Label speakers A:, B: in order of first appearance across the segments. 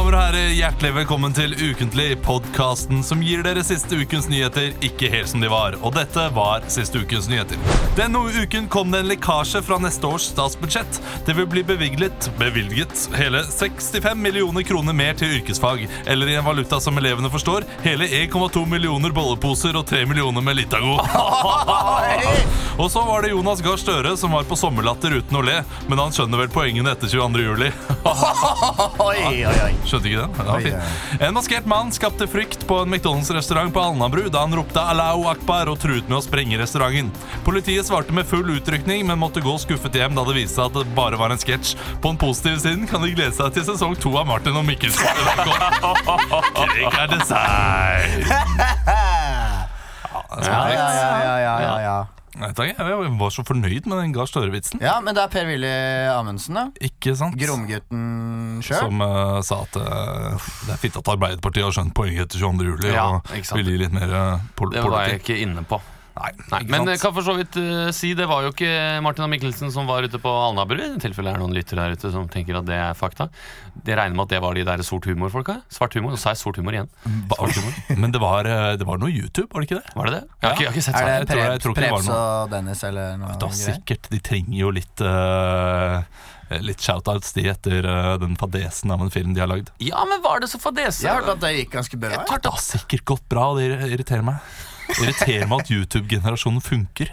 A: hjertelig velkommen til Ukentlig, podkasten som gir dere siste ukens nyheter ikke helt som de var. Og dette var siste ukens nyheter. Denne uken kom det en lekkasje fra neste års statsbudsjett. Det vil bli bevilget, bevilget hele 65 millioner kroner mer til yrkesfag, eller i en valuta som elevene forstår, hele 1,2 millioner bolleposer og 3 millioner med Litago. Og så var det Jonas Gahr Støre som var på sommerlatter uten å le, men han skjønner vel poengene etter 22. juli.
B: Oi, oi, oi.
A: Skjønte ikke det? det var fint. En maskert mann skapte frykt på en McDonald's-restaurant på Alnabru da han ropte 'Allahu akbar' og truet med å sprenge restauranten. Politiet svarte med full utrykning, men måtte gå skuffet hjem da det viste seg at det bare var en sketsj. På den positive siden kan de glede seg til sesong to av Martin og Mikkelsen. Krig er dessert.
B: Ja, ja, ja, ja, ja, ja.
A: Jeg vet ikke, jeg var så fornøyd med den Gahr Støre-vitsen.
B: ja, men det er Per-Willy Amundsen, da.
A: Ikke sant?
B: Gromgutten sjøl.
A: Som eh, sa at eh, det er fint at Arbeiderpartiet har skjønt poenget etter 22. juli
B: Ja, ikke
A: og
B: sant.
A: vil gi litt mer eh, pol
C: Det var jeg
A: politikk.
C: ikke inne på.
A: Nei,
C: Nei,
A: ikke
C: men
A: sant?
C: jeg kan for så vidt eh, si det var jo ikke Martin og Mikkelsen som var ute på Alnabru. I tilfelle det er noen lyttere der ute som tenker at det er fakta. De regner med at det var de der sort humor-folka. Svart humor. Nå sa jeg sort humor igjen.
A: Ba- Men det var, eh, det var noe YouTube, var det ikke det?
C: Var det det? Jeg har ikke, jeg har ikke sett
B: Er
C: saken.
B: det
A: Jeg tror- jeg
B: Prebz
A: tror ikke det var
B: Prebz og Dennis eller noe
A: Da
B: greier?
A: sikkert, De trenger jo litt uh, Litt shoutouts de etter eh, den fadesen av en film de har lagd.
C: Ja, men var det så fadese?
B: Jeg hørte at det gikk ganske bra.
A: Det har da sikkert gått bra, og det irri- irriterer meg. Det irriterer meg at YouTube-generasjonen funker.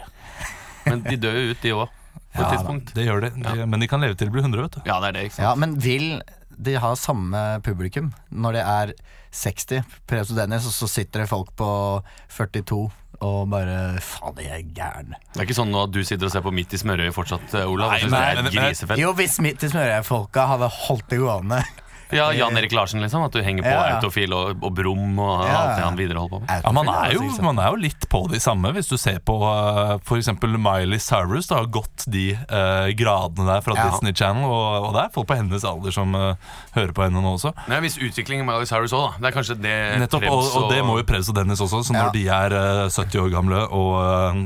C: Men de dør jo ut, de òg. På et
A: Ja,
C: tidspunkt.
A: det gjør det, de, Men de kan leve til de blir 100, vet du.
C: Ja, det er det, ikke sant.
B: Ja, men vil de ha samme publikum når det er 60 Prebz og Dennis, og så sitter det folk på 42 og bare Faen, de er gærne.
C: Det er ikke sånn nå at du sitter og ser på Midt i smørøyet fortsatt, eh, Olav.
A: Nei,
C: og synes
A: nei,
C: det
A: men-
C: er grisefett.
B: Jo, hvis midt i smørøyefolka hadde holdt det gående.
C: Ja, Jan Erik Larsen, liksom. At du henger på
B: Ja, ja.
C: autofil og, og Brum og
B: ja.
C: alt det han videre holder på med.
A: Ja, man er, jo, man er jo litt på de samme, hvis du ser på eh, for eksempel Miley Cyrus. Det har gått de eh, gradene der fra
B: Ja.
A: Disney Channel, og, og det er folk på hennes alder som eh, hører på henne nå også.
C: Nei, Hvis utviklingen med Miley Cyrus òg, da. Det er kanskje det
A: Nettopp, og,
C: Prebz
A: og det må jo Prebz og Dennis også, så når
B: Eh, Ja.
A: de er eh, 70 år gamle og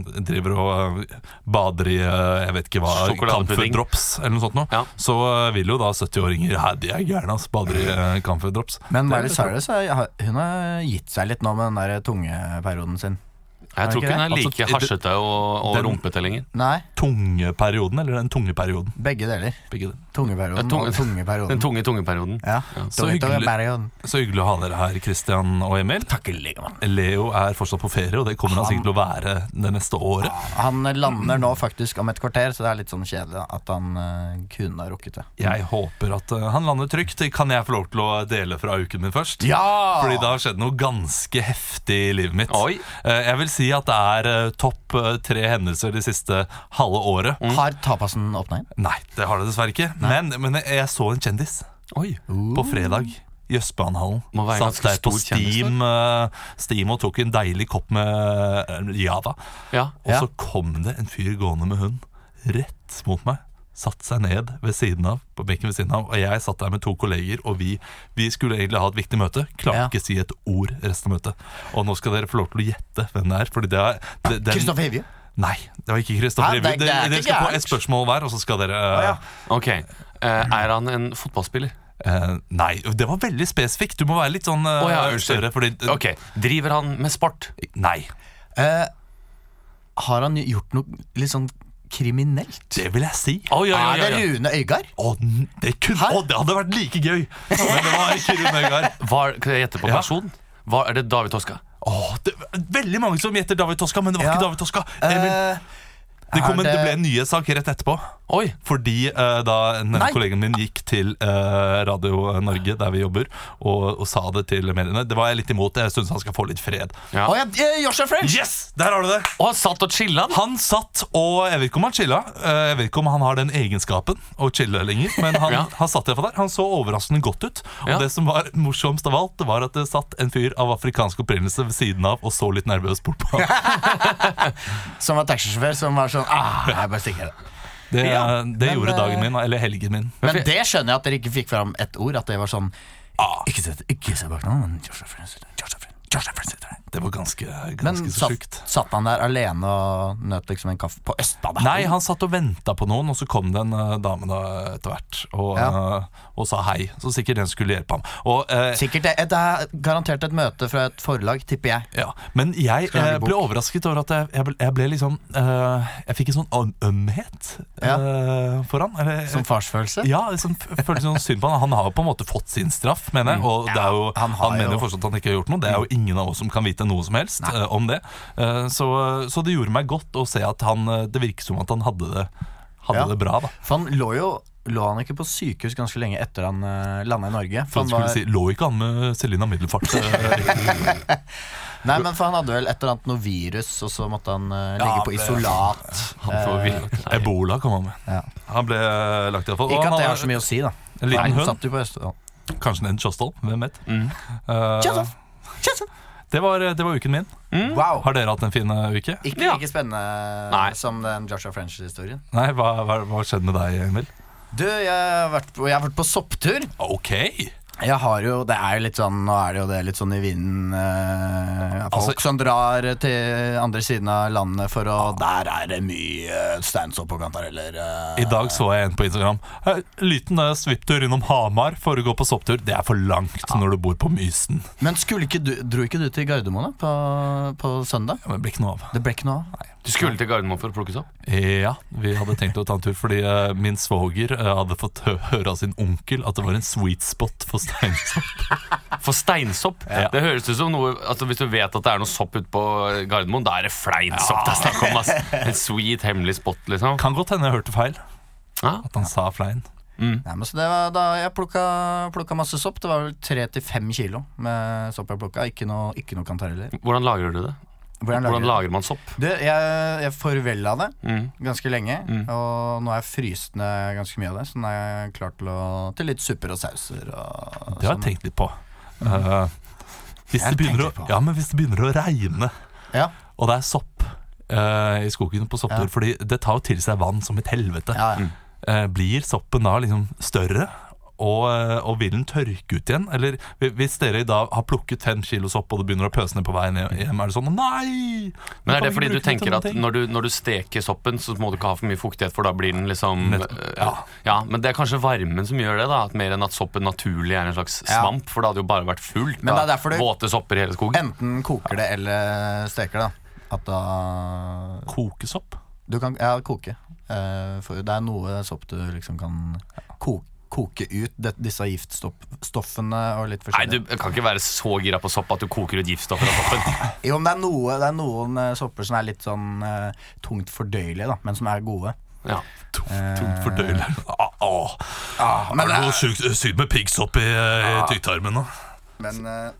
A: eh, driver og eh, bader i eh, jeg vet ikke hva,
C: Sjokoladepudding.
A: camphordrops eller noe sånt noe,
C: Ja.
A: så eh, vil jo da 70-åringer Hæ, de er gærne, ass. Bader i uh, camphordrops.
B: Men Miley
A: sånn.
B: Cyrus har- hun har gitt seg litt nå med den der tungeperioden sin.
C: Jeg tror
B: ikke
C: ikke hun er
A: det?
C: like
A: Altså,
C: hasjete og, og
A: den-
C: rumpete lenger.
B: Nei,
A: Tungeperioden, eller den tungeperioden?
B: begge deler.
A: Begge deler.
B: Tungeperioden
C: Ja, tung-
B: og tungeperioden.
C: Den tunge tungeperioden.
B: Ja.
A: Så
B: Tunge-
A: hyggelig.
B: tungeperioden.
A: Så hyggelig å ha dere her, Christian og Emil. Takk Leo er fortsatt på ferie, og det kommer han sikkert til å være det neste året.
B: Han lander nå faktisk om et kvarter, så det er litt sånn kjedelig at han eh, kunne ha rukket det.
A: Jeg håper at eh, han lander trygt. Kan jeg få lov til å dele fra uken min først?
B: Ja!
A: Fordi det har skjedd noe ganske heftig i livet mitt.
C: Oi.
A: Eh, Jeg vil si at det er eh, topp eh, tre hendelser det siste halve året.
C: Mm.
B: Har tapasen åpna inn?
A: Nei, det har det dessverre ikke. Men, men jeg jeg så en kjendis
C: Oi,
A: på fredag. I Østbanehallen.
C: Må være
A: Satt
C: ganske
A: der på
C: stor kjendis,
A: Steam, eh, Steam og tok en deilig kopp med eh, Java.
C: ja.
A: Og
B: Ja.
A: så kom det en fyr gående med hund rett mot meg. Satt seg ned ved siden av, på benken ved siden av, og jeg satt der med to kolleger. Og vi, vi skulle egentlig ha et viktig møte. Klarte
B: Ja.
A: ikke si et ord resten av møtet. Og nå skal dere få lov til å gjette hvem det er. Fordi det er det, den-
B: Kristoffer Hivju.
A: Nei, det var ikke
B: Hæ?
A: Kristoffer
B: Det er-
A: Ibu.
B: det er
A: Dere
B: ikke
A: dere skal få
B: gærent.
A: et spørsmål hver, og så skal dere
B: ja.
C: Ok. Eh, er han en fotballspiller?
A: eh, Nei, det var veldig spesifikt. Du må være litt sånn eh,
C: Å ja, unnskyld.
A: større, fordi
C: Ok, Driver han med sport?
A: Nei.
B: Eh, har han gjort noe litt sånn kriminelt?
A: Det vil jeg si.
C: Oi, oi, oi,
B: Er det
C: oi, oi.
B: Rune Øygard?
A: Å, n- det, kunne,
B: Hæ?
A: å, det hadde vært like gøy! Men det var ikke Rune Øygard.
C: Var, kan jeg gjette på
A: Ja.
C: person? Var, er det David Toska?
A: Åh, det er veldig mange som gjetter David Toska, men det var
B: Ja.
A: ikke David Toska. Emil,
B: Eh,
A: det, kom en,
B: er
A: det
B: det-
A: ble en nyhetssak rett etterpå.
C: Oi,
A: Fordi eh, da en
B: Nei.
A: kollegen min gikk til eh, Radio Norge, der vi jobber, og, og sa det til mediene, det var jeg litt imot. Jeg syns han skal få litt fred.
C: Ja.
B: Å ja, eh, Joshua French!
A: Yes! Der har du det!
C: Og han satt og chilla? han.
A: Han satt og Jeg vet ikke om han chilla. eh, Jeg vet ikke om han har den egenskapen å chille lenger. Men han,
C: Ja.
A: han satt i hvert fall der. Han så overraskende godt ut. Og
C: Ja.
A: det som var morsomst av alt, det var at det satt en fyr av afrikansk opprinnelse ved siden av og så litt nervøs bort på ham.
B: Som var taxisjåfør, som var sånn ah, jeg bare stikker det.
A: Det,
C: Ja,
A: det
B: men,
A: gjorde dagen
B: eh,
A: min, eller helgen min.
B: Men det skjønner jeg at dere ikke fikk fram ett ord. At det var sånn Ikke se, ikke se bak nå, men Joshua French. Joshua French. George Jefferson sitter der.
A: Det var ganske,
B: Men
A: ganske så
B: satt,
A: sjukt.
B: satt han der alene og nøt liksom en kaffe på Østbadet?
A: Nei, han satt og venta på noen, og så kom det en eh, dame da etter hvert og,
B: Ja.
A: eh, og sa hei. Så sikkert den skulle hjelpe ham. Og, eh,
B: Sikkert det. Det er garantert et møte fra et forlag, tipper jeg.
A: ja. Men jeg
B: Skal jeg
A: eh,
B: lage
A: ble
B: bok?
A: overrasket over at jeg, jeg, ble, jeg ble liksom eh, Jeg fikk en sånn øm- ømhet
B: Ja.
A: eh, for han. Eller,
B: Som farsfølelse.
A: ja, liksom, f- følte sånn synd på han. Han har jo på en måte fått sin straff, mener jeg. Og det er jo,
B: han
A: han,
B: har
A: mener jo
B: jo- Mm.
A: fortsatt at han ikke har gjort noe. Det er jo ingen av oss som kan vite noe som helst eh, om det. Eh, så, så det gjorde meg godt å se at han eh, Det virket som at han hadde det, hadde
B: Ja.
A: det bra, da.
B: For han lå jo Lå han ikke på sykehus ganske lenge etter han uh, landa i Norge?
A: For han
B: han
A: skulle si, Lå ikke han med Selina Middelfart? eh,
B: nei, men for han hadde vel et eller annet noe virus, og så måtte han eh, ligge
A: Ja,
B: på
A: det-
B: isolat.
D: Han får villak. Nei.
A: Ebola kom han med.
B: Ja.
A: Han ble eh, lagt i hvert fall.
B: Ikke
A: han
B: at det
A: har
B: har så mye å si, da.
A: En liten
B: Han
A: hund.
B: satt jo på Østfold.
A: Kanskje en Tjostol. Hvem vet.
D: Mm.
A: Eh,
B: Tjostolv! Tjostolv!
A: det, var, det var uken min.
D: Mm.
B: Wow.
A: Har dere hatt en fin eh, uke?
B: Ikke
D: Ja.
B: like spennende
D: Nei.
B: som den Joshua French-historien.
A: Nei, hva, hva, hva skjedde med deg, Emil?
B: Du, jeg har, vært på, jeg har vært på sopptur.
A: Ok!
B: Jeg har jo, det er jo litt sånn, Nå er det jo det litt sånn i vinden. eh, folk
A: Altså-
B: som drar til andre siden av landet for å Der er det mye eh, steinsopp og kantareller. eh.
A: I dag så jeg en på Instagram. Eh, Liten eh, svipptur innom Hamar for å gå på sopptur. Det er for langt når du bor på Mysen.
B: Men skulle ikke du, dro ikke du til Gardermoen da, på, på søndag?
A: Ja, men det blir ikke noe av.
B: Det ble ikke noe av?
D: Du skulle til Gardermoen for å plukkes opp?
A: Ja, vi hadde tenkt å ta en tur fordi eh, min svoger eh, hadde fått hø høre av sin onkel at det var en sweet spot for steinsopp.
D: For steinsopp?
A: Ja.
D: Det høres ut som noe altså Hvis du vet at det er noe sopp ute på Gardermoen, da er det fleinsopp det er snakk om. ass. En sweet, hemmelig spot, liksom.
A: Kan godt hende jeg hørte feil.
C: Ah.
D: Ja.
A: At han sa flein.
B: Nei, men så det var da jeg plukka, plukka masse sopp. Det var vel tre til fem kilo med sopp jeg plukka. Ikke noe, ikke noe kantareller.
D: Hvordan lagrer du det?
B: Hvordan lager
D: Hvordan
B: jeg det?
D: lager man sopp?
B: Du, jeg, jeg forvella det
D: Mm.
B: ganske lenge, og nå er jeg frysende ganske mye av det. Så nå er jeg klar til, å, til litt supper og sauser. Og,
A: Det har jeg
B: sånn.
A: tenkt litt på. Eh, hvis,
B: Jeg
A: det begynner
B: tenker
A: å,
B: på.
A: ja, men hvis det begynner å regne,
B: Ja.
A: og det er sopp eh, i skogen på sopptur
B: Ja.
A: Fordi det tar jo til seg vann som et helvete.
B: Ja, ja.
A: Eh, blir soppen da liksom større? Og, eh, og vil den tørke ut igjen? Eller hvi- hvis dere da har plukket fem kilo sopp, og det begynner å pøse ned på veien hjem, er det sånn Nei!
D: Men
A: Nå
D: er
A: kan
D: det
A: vi
D: fordi du
A: bruke den til
D: tenker
A: noen
D: at
A: ting."
D: når du, når du steker soppen, så må du ikke ha for mye fuktighet, for da blir den liksom
A: Nettopp,
D: ja.
A: ja.
D: ja, Men det er kanskje varmen som gjør det, da. At mer enn at soppen naturlig er en slags
B: Ja.
D: svamp, for det hadde jo bare vært fullt
B: Men
D: av
B: det er derfor du-
D: våte sopper i hele skogen.
B: Enten koker det eller steker det. da. At da
A: Kokesopp?
B: Du kan ja, koke. Eh, for det er noe sopp du liksom kan ko koke ut det, disse giftstoffene og litt
D: Nei,
B: forskjellig.
D: du kan ikke være så gira på sopp at du koker ut giftstoffer av soppen.
B: Jo, men det er, noe, det er noen eh, sopper som er litt sånn eh, tungt fordøyelige, da, men som er gode.
D: Ja.
A: Tungt fordøyelig.
D: Eh.
A: Ah, ah.
B: Eh, men
A: er det
B: det
A: noe sykt sykt med piggsopp i, eh, i
D: Ah.
A: tykktarmen nå?
B: Men eh,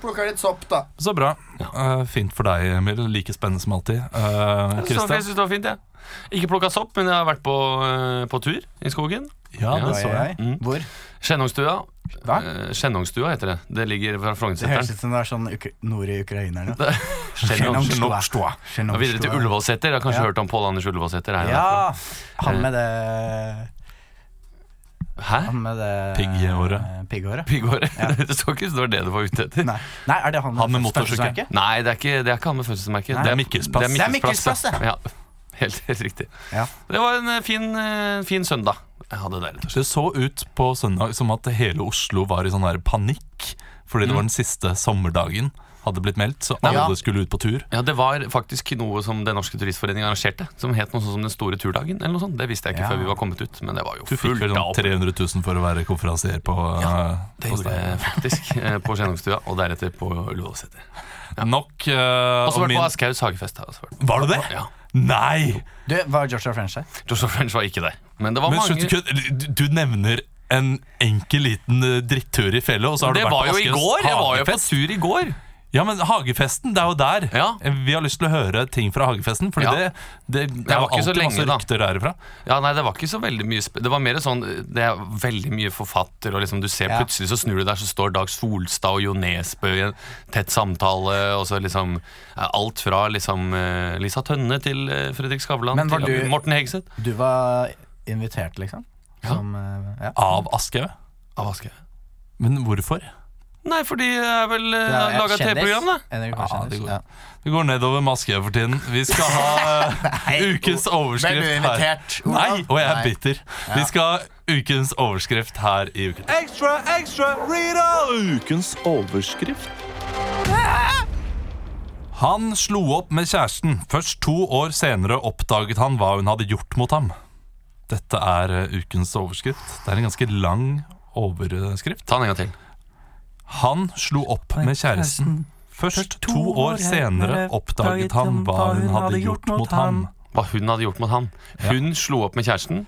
B: plukker litt sopp, da.
A: Så bra. Eh, fint for deg, Emil. Like spennende som alltid. Uh,
D: Jeg
A: Christian?
D: syns det var fint, jeg. Ikke plukka sopp, men jeg har vært på, eh, på tur i skogen.
A: Ja,
D: Ja,
A: det
B: Oi,
A: så jeg.
B: oi, oi.
D: Mm.
B: Hvor?
D: Skjennungstua.
B: Hva?
D: Eh, Skjennungstua heter det. Det ligger fra
B: Det høres
D: Frognerseteren.
B: ut som det er sånn ukra nord i Ukraina eller noe.
D: Skjennungstua.
B: Skjennungstua.
D: Og videre til Ullevålseter. Jeg har kanskje
B: Ja.
D: hørt om Pål Anders Ullevålseter. er jo
B: Ja, han
A: Eh.
B: med det
D: derfra. Hæ?
B: Han med det
A: Pigghåret.
B: eh, Pigghåret.
D: Bygård. det står ikke hvis det var det du var ute etter. Nei,
B: Nei. Nei, er det han
A: Han med
B: fødselsmerket?
D: det, er ikke, det er ikke han med fødselsmerket.
B: Nei.
A: Det er Mikkels plass.
B: Det er Mikkels plass,
D: ja. Ja. Helt, helt riktig.
B: Ja.
D: Det var en eh, fin, eh, fin søndag. Jeg hadde det deilig.
A: Det så ut på søndag som at hele Oslo var i sånn her panikk fordi det var
D: Mm.
A: den siste sommerdagen hadde blitt meldt, så
B: Ja.
A: alle skulle ut på tur.
D: Ja, Det var faktisk noe som Den norske turistforening arrangerte. Som het noe sånn som Den store turdagen. eller noe sånt Det visste jeg ikke
B: Ja.
D: før vi var kommet ut. Men det var jo
A: Du fikk
D: fullt
A: vel
D: av
A: sånn 300 000 for å være konferansier på, eh,
D: Det
A: på
D: gjorde
A: stedet.
D: jeg faktisk eh, på Skjennungstua, og deretter på Ullevålseter.
A: Nok eh,
D: Og så
A: om
D: vært
A: min
D: på Aschehougs hagefest. Har jeg også vært.
A: Var du det?
D: Ja.
A: Nei!
B: Du, var Joshua French der?
D: Joshua French var ikke der. Men det var
A: Men
D: mange
A: slutt å kødde. Du- Du nevner en enkel liten eh, drittur i fjellet, og så har
D: Det
A: du vært
D: var
A: på
D: jo i
A: Askerøs
D: går! Jeg var jo på
A: hagefest.
D: tur i går.
A: Ja, men hagefesten, det er jo der.
D: Ja.
A: Vi har lyst til å høre ting fra hagefesten, Fordi
D: Ja.
A: det, det, det er
D: var
A: jo
D: ikke så
A: alltid masse
D: lenge, da.
A: rykter derifra.
D: Ja, nei, Det var ikke så veldig mye sp Det var mer sånn Det er veldig mye forfatter, og liksom du ser
B: Ja.
D: plutselig så snur du der, så står Dag Solstad og Jo Nesbø i en tett samtale, og så liksom ja, Alt fra liksom eh, Lisa Tønne til eh, Fredrik Skavlan
B: Men var
D: til eh,
B: du-
D: Morten Hegseth.
B: Du var invitert, liksom?
D: Ja.
B: Som, eh, ja.
A: Av Aschehoug.
D: Av Aschehoug.
A: Men hvorfor?
D: Nei, for de er vel eh,
B: Det er et
D: laga et
B: kjendis.
D: TV-program, da.
B: En
A: Ja,
B: NRK-kjendis,
A: det går.
B: ja.
A: Det går nedover maske for tiden. Vi skal ha eh,
B: Nei,
A: ukens
B: Ble du
A: overskrift her.
B: invitert?
A: Nei, og jeg er
B: Nei.
A: bitter. Vi skal ha ukens overskrift her i uken. Ekstra, ekstra, Rita! Ukens overskrift. Han slo opp med kjæresten. Først to år senere oppdaget han hva hun hadde gjort mot ham. Dette er eh, ukens overskrift. Det er en ganske lang overskrift.
D: Ta den en gang til.
A: Han slo opp med kjæresten. Først to år senere oppdaget han hva hun hadde gjort mot ham.
D: Hva hun hadde gjort mot han. Hun slo opp med kjæresten.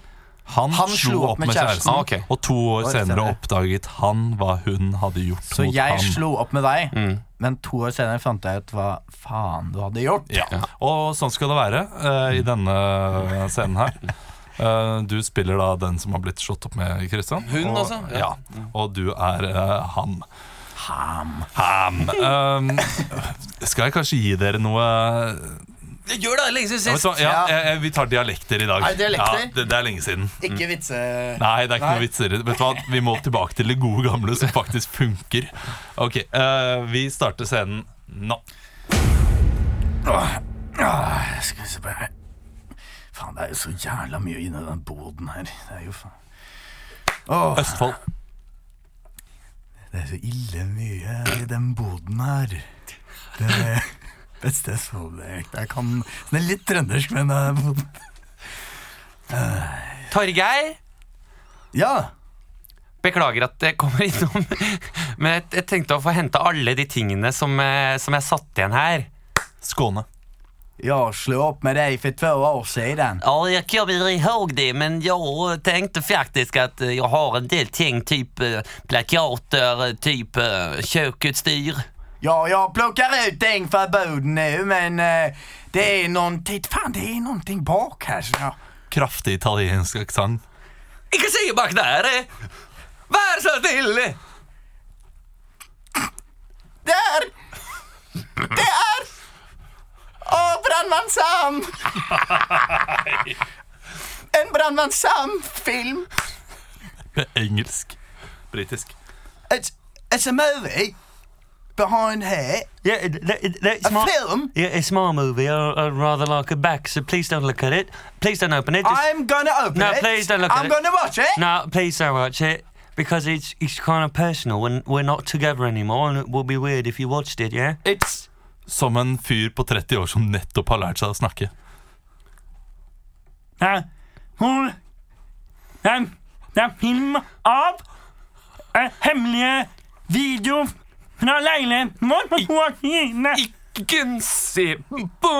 A: Han slo opp med kjæresten,
D: Ah, ok.
A: og to år senere oppdaget han hva hun hadde gjort
B: Så
A: mot Mm.
B: jeg
A: ham.
B: slo opp med deg, men to år senere fant jeg ut hva faen du hadde gjort.
A: Ja. Og sånn skal det være eh, i denne scenen her. Eh, du spiller da den som har blitt slått opp med Kristian.
D: Hun,
A: og,
D: altså?
A: Ja.
D: Ja.
A: Og du er eh, han.
B: Ham.
A: Ham. Eh, skal jeg kanskje gi dere noe
D: Gjør det! Lenge siden
A: ja, vet du hva? ja, jeg, jeg, Vi tar dialekter i dag.
B: Er det dialekter?
A: Ja, det, det er lenge siden.
B: Ikke vitse...
A: Nei, det er ikke
B: Nei.
A: noe vitser. Vet du hva? Vi må tilbake til det gode gamle som faktisk funker. Ok, eh, Vi starter scenen nå.
B: Åh, skal vi se på her. Faen, det er jo så jævla mye inni den boden her. Det er jo faen... Åh,
A: Østfold.
B: det er så ille mye i den boden her. Det er det beste jeg så det. Jeg kan... Det er litt trøndersk, men... eh, boden.
D: Torgeir,
B: Ja!
D: beklager at jeg kommer innom, men jeg, jeg tenkte å få henta alle de tingene som, eh, som jeg satte igjen her.
A: Skåne.
B: Jeg slo opp med deg for to år siden.
D: Ja, jeg kommer ihåg det, men jeg tenkte faktisk at eh, jeg har en del ting, eh, type plakater, type kjøkkenutstyr.
B: Ja, jag plockar ut ting för boden nu, men eh, det är någonting... Fan, det är någonting bak här. Så jag,
A: Kraftig italiensk aksent.
D: Ikke se bak der! eh. Vær så snill!
B: där! Där! Åh, Brandman Sam! en Brandman Sam-film.
A: Engelsk. Britisk.
B: It's, it's a movie behind here.
D: Yeah, that, that's
B: A film?
D: Yeah, it's my movie. I, I'd rather like it back, so please don't look at it. Please don't open it. Just,
B: I'm gonna open
D: No,
B: it.
D: please don't look at
B: I'm
D: it.
B: gonna watch it.
D: no, please don't watch it because it's it's kind of personal. When we're not together anymore, and it would be weird if you watched it. Yeah.
B: It's...
A: Som en fyr på 30 år som nettopp har lært seg å snakke.
E: Det er hun Det er, det er film av eh, hemmelige videoer fra leiligheten vår på Joaquine.
D: Ikke se på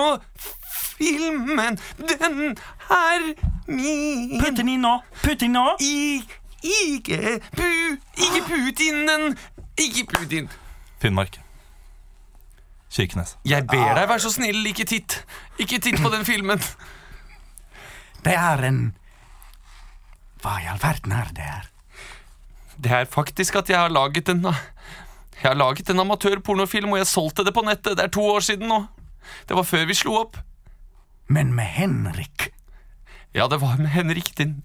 D: filmen. Den er min.
E: Putt den inn nå. Putt den inn nå.
D: ikke Ikke Putin, den. Ikke Putin.
A: Finnmark. Kirkenes.
D: Jeg ber deg, vær så snill, ikke titt. Ikke titt på den filmen.
B: Det er en... Hva i all verden er det her?
D: Det er faktisk at jeg har laget en Jeg har laget en amatørpornofilm, og jeg solgte det på nettet. Det er to år siden nå. Det var før vi slo opp.
B: Men med Henrik...
D: Ja, det var med Henrik, din,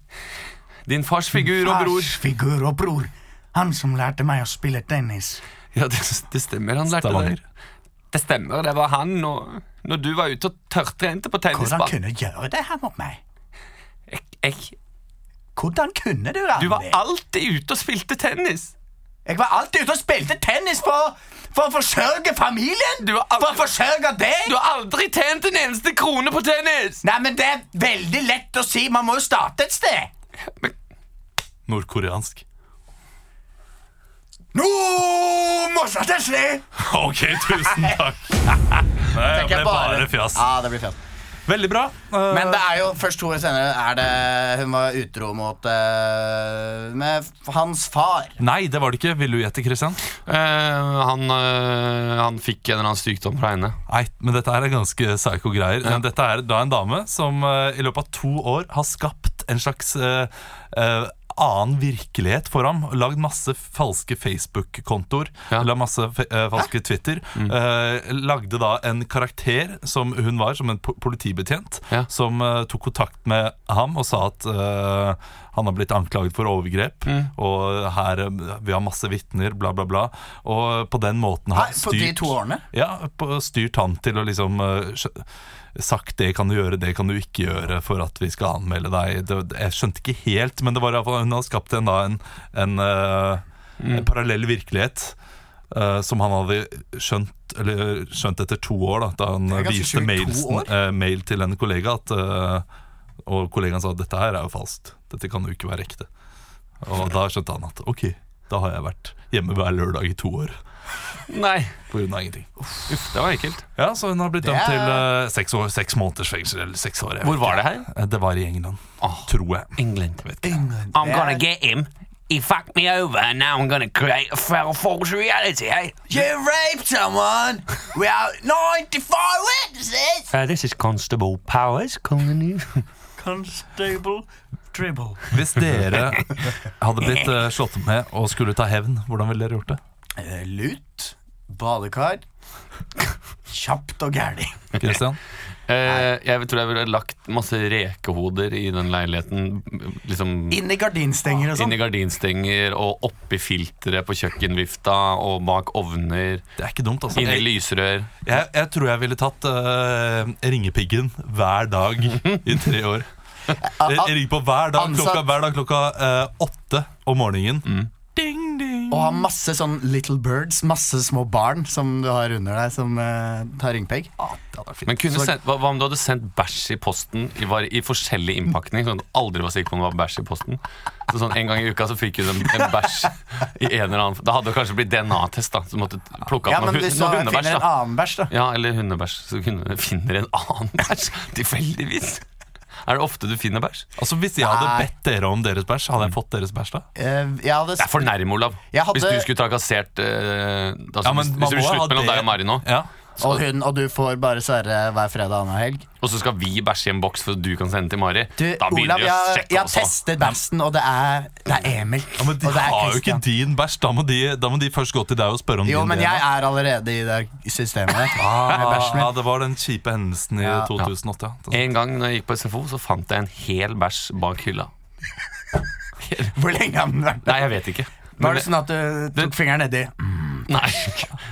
D: din fars figur og bror.
B: Farsfigur og bror. Han som lærte meg å spille tennis.
D: Ja, det, det stemmer. Han lærte
A: Stavanger.
D: deg. Det stemmer, det var han og når du var ute og tørrtrente på
B: Hvordan
D: tennisbanen.
B: kunne du gjøre det her mot meg?
D: Jeg, jeg,
B: Hvordan kunne du,
D: du
B: Randi?
D: var alltid ute og spilte tennis.
B: Jeg var alltid ute og spilte tennis for, for å forsørge familien!
D: Du var
B: For å
D: aldri,
B: forsørge deg!
D: du har aldri tjent en eneste krone på tennis!
B: Nei, men det er veldig lett å si. Man må jo starte et sted.
A: Nordkoreansk.
B: Nå må starte et sted!
A: Ok, tusen takk. Nei, det ble bare fjas.
B: Ja, det blir fjas.
A: Veldig bra. Eh,
B: Men det er jo først to år senere er det hun var utro mot eh, med hans far.
A: Nei, det var det ikke. Vil du gjette, Kristian?
C: Eh,
D: han, fikk en eller annen sykdom fra henne.
A: Nei, men dette her er ganske psycho greier. Men Dette er da en dame som eh, i løpet av to år har skapt en slags eh, eh, annen virkelighet for ham. Lagd masse falske Facebook-kontoer.
C: Ja.
A: Lagd masse fe- eh, falske Twitter.
B: Mm.
A: Eh, lagde da en karakter som hun var, som en po politibetjent,
C: Ja.
A: som eh, tok kontakt med ham og sa at eh, han har blitt anklaget for overgrep,
B: Mm.
A: og her eh, vi har masse vitner, bla, bla, bla. Og på den måten har
B: Nei, på de to årene?
A: ja, på- styrt han til å liksom eh, skj- Sagt det kan du gjøre, det kan du ikke gjøre for at vi skal anmelde deg. Det, det- jeg skjønte ikke helt, men det var i hvert fall- hun har skapt en, da, en, en, eh,
B: Mm.
A: en parallell virkelighet. eh, som han hadde skjønt, eller, skjønt etter to år, da, da han
B: er ganske
A: viste
B: sjukt, to
A: mailsen,
B: år.
A: eh, mail til en kollega. At, eh, og kollegaen sa dette her er jo falskt, dette kan jo ikke være ekte. Og da skjønte han at ok, da har jeg vært hjemme hver lørdag i to år
C: Nei,
A: på grunn av ingenting.
C: uff, det var ekkelt.
A: Ja, så hun har blitt
B: Det
A: dømt
B: er-
A: til eh, seks, år, seks måneders fengsel. Eller seks år. jeg vet
C: Hvor Ah. var det her?
A: ikke. Eh, Det var i England,
C: Åh.
A: tror jeg.
C: England.
A: jeg vet ikke.
C: I'm gonna get him. He fucked me over, and now I'm gonna create a fel- false reality. eh?
B: You raped someone! We are 95 witnesses!
C: Uh, this is Constable Powers calling you.
E: Constable Dribble.
A: Hvis dere hadde blitt eh, slått med og skulle ta hevn, hvordan ville dere gjort det?
B: Eh, Lut, badekar, kjapt og gærlig.
A: Christian?
C: Eh, jeg tror jeg ville lagt masse rekehoder i den leiligheten. Liksom
B: Inn i gardinstenger og
C: inn
B: sånn.
C: i gardinstenger og oppi filteret på kjøkkenvifta og bak ovner.
A: Det er ikke dumt, altså.
C: Inn i
A: Jeg,
C: lysrør.
A: jeg, jeg tror jeg ville tatt eh, ringepiggen hver dag i tre år. Jeg, jeg ringer på hver dag
B: Ansatt.
A: klokka, hver dag klokka eh, åtte om morgenen.
C: Mm.
A: Ding, ding.
B: Og ha masse sånn little birds, masse små barn som du har under deg, som eh, tar ringpegg.
C: Men kunne sendt, hva, hva om du hadde sendt bæsj i posten i, var, i forskjellig innpakning? Sånn at du aldri var sikker på om det var bæsj i posten. Så sånn En gang i uka så fikk hun en, en bæsj i en eller annen Da hadde det kanskje blitt DNA-test, da. Så du måtte plukke opp
B: Ja,
C: noe,
B: men
C: hu-
B: hvis du
C: noe
B: finner
C: hundebæsj.
B: en
C: da
B: annen bæsj, da.
C: Ja, eller hundebæsj. Så kunne du finner en annen bæsj. Tilfeldigvis. Er det ofte du finner bæsj?
A: Altså, hvis jeg hadde
B: Nei.
A: bedt dere om deres bæsj, hadde jeg
C: Mm.
A: fått deres bæsj da?
C: Altså,
B: Eh, jeg hadde
C: Det er for nærme, Olav.
B: Jeg hadde-
C: Hvis du skulle trakassert eh, altså,
A: Ja, men
C: Hvis,
A: man
C: hvis det
A: må
C: blir
A: ha
C: slutt mellom
A: det-
C: deg og Mari nå,
A: Ja.
B: Og, hun, og du får bare Sverre hver fredag annen helg.
C: og så skal vi bæsje i en boks for at du kan sende til Mari,
B: Du,
C: da begynner
B: Olav,
C: vi å
B: jeg,
C: sjekke
B: jeg har
C: også.
B: testet bæsjen, og det er, det er Emil.
A: Ja, men de
B: og det er
A: har jo ikke
B: Christian.
A: din bæsj. Da, må de- da må de først gå til deg og spørre om
B: Jo,
A: din
B: men
A: DNA.
B: jeg er allerede i det systemet der. med
A: Ah,
B: bæsjen min.
A: ja, det var den kjipe hendelsen i
B: Ja.
A: 2008. Ja.
C: En gang når jeg gikk på SFO, så fant jeg en hel bæsj bak hylla.
B: Hvor lenge har den vært der?
C: Nei, jeg vet ikke. Men
B: Var det
C: det-
B: sånn at du tok fingeren nedi?
C: Nei,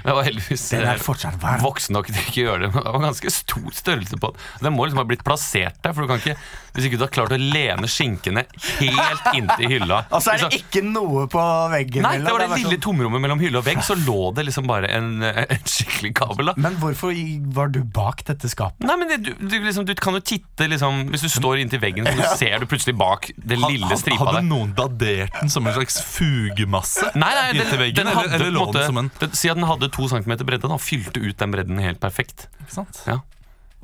C: det var heldigvis
B: Den
C: eh,
B: er fortsatt varm.
C: voksen nok til ikke å gjøre det. Men det var ganske stor størrelse på den. Den må liksom ha blitt plassert der, for du kan ikke Hvis ikke du har klart å lene skinkene helt inntil hylla
B: Og
A: Altså,
B: så er
C: Liksom-
B: det ikke noe på veggen.
C: Nei, det
B: mellom,
C: var det
B: bare
C: lille
B: sånn-
C: tomrommet mellom hylle og vegg, så lå det liksom bare en, eh, en skikkelig kabel, da.
B: sånn, Men hvorfor i- var du bak dette skapet?
C: Nei, men det, du, du, liksom, du kan jo titte liksom Hvis du står inntil veggen, så ser du plutselig bak det lille stripa
A: Hadde
C: der.
A: noen dadert den som en slags fugemasse?
C: Nei, nei, den,
A: inntil veggen,
C: den hadde
A: eller, eller
C: på
A: lå
C: en måte,
A: den som en
C: den, Si at den hadde to centimeter bredde, da, og fylte ut den bredden helt perfekt.
A: Ikke sant?
C: Ja.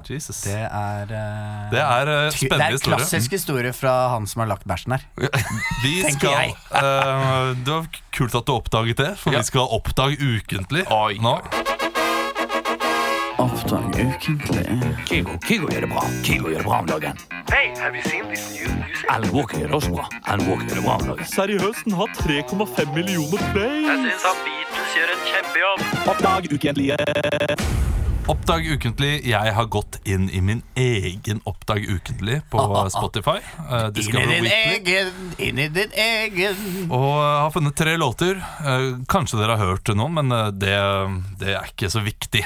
A: Jesus.
B: Det
A: Det,
B: er eh,
A: er eh,
B: det er
A: spennende
B: en
A: historie.
B: klassisk historie fra han som har lagt bæsjen der.
A: Vi
B: tenker
A: skal,
B: jeg.
A: eh, det var kult at du oppdaget det, for
C: Ja.
A: vi skal oppdage ukentlig
C: Oi.
A: nå.
F: Kygo, Kygo gjør det bra. Kygo gjør det bra om dagen. Alan Walker gjør det også bra. Alan Walker gjør det bra om dagen.
G: Seriøst, den har 3,5 millioner play.
A: Oppdag ukentlig. Jeg har gått inn i min egen Oppdag ukentlig på Spotify. eh,
B: Inn i
A: Discover
B: din
A: Weekly.
B: egen, inn i din egen
A: Og jeg har funnet tre låter. Eh, Kanskje dere har hørt noen, men eh, det, det er ikke så viktig.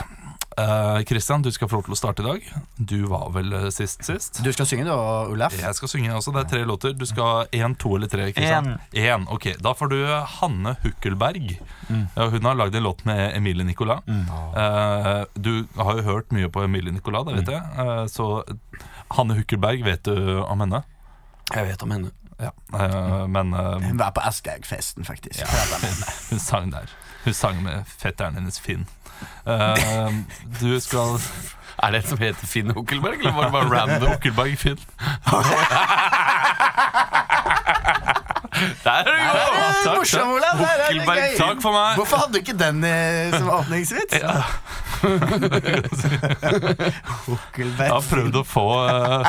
A: Eh, Christian, du skal få lov til å starte i dag. Du var vel eh, sist sist?
B: Du skal synge, du, Olaf.
A: Jeg skal synge også. Det er tre låter. Du skal én, to eller tre? Christian? Én. Ok, da får du Hanne Hukkelberg. Ja, Hun har lagd en låt med Emilie Nicolas. Eh, du har jo hørt mye på Emilie Nicolas, det vet jeg. Eh, så Hanne Hukkelberg vet du om henne.
C: Jeg vet om henne.
A: Ja. Eh, men eh,
B: Hun var på Aschehoug-festen, faktisk. Prata med henne.
A: Hun sang der. Hun sang med fetteren hennes Finn. Eh, du skal
C: Er det en som heter Finn Hukkelberg, eller var det bare random?
A: Okkelberg Finn.
C: Der er det jo!
B: Eh,
A: takk,
B: Morsom, Olaf! det er- det er
C: Hukkelberg,
B: gøy.
A: Takk for meg!
B: Hvorfor hadde du ikke den eh, som åpningsvits? Hukkelberg.
A: Jeg har prøvd å få eh,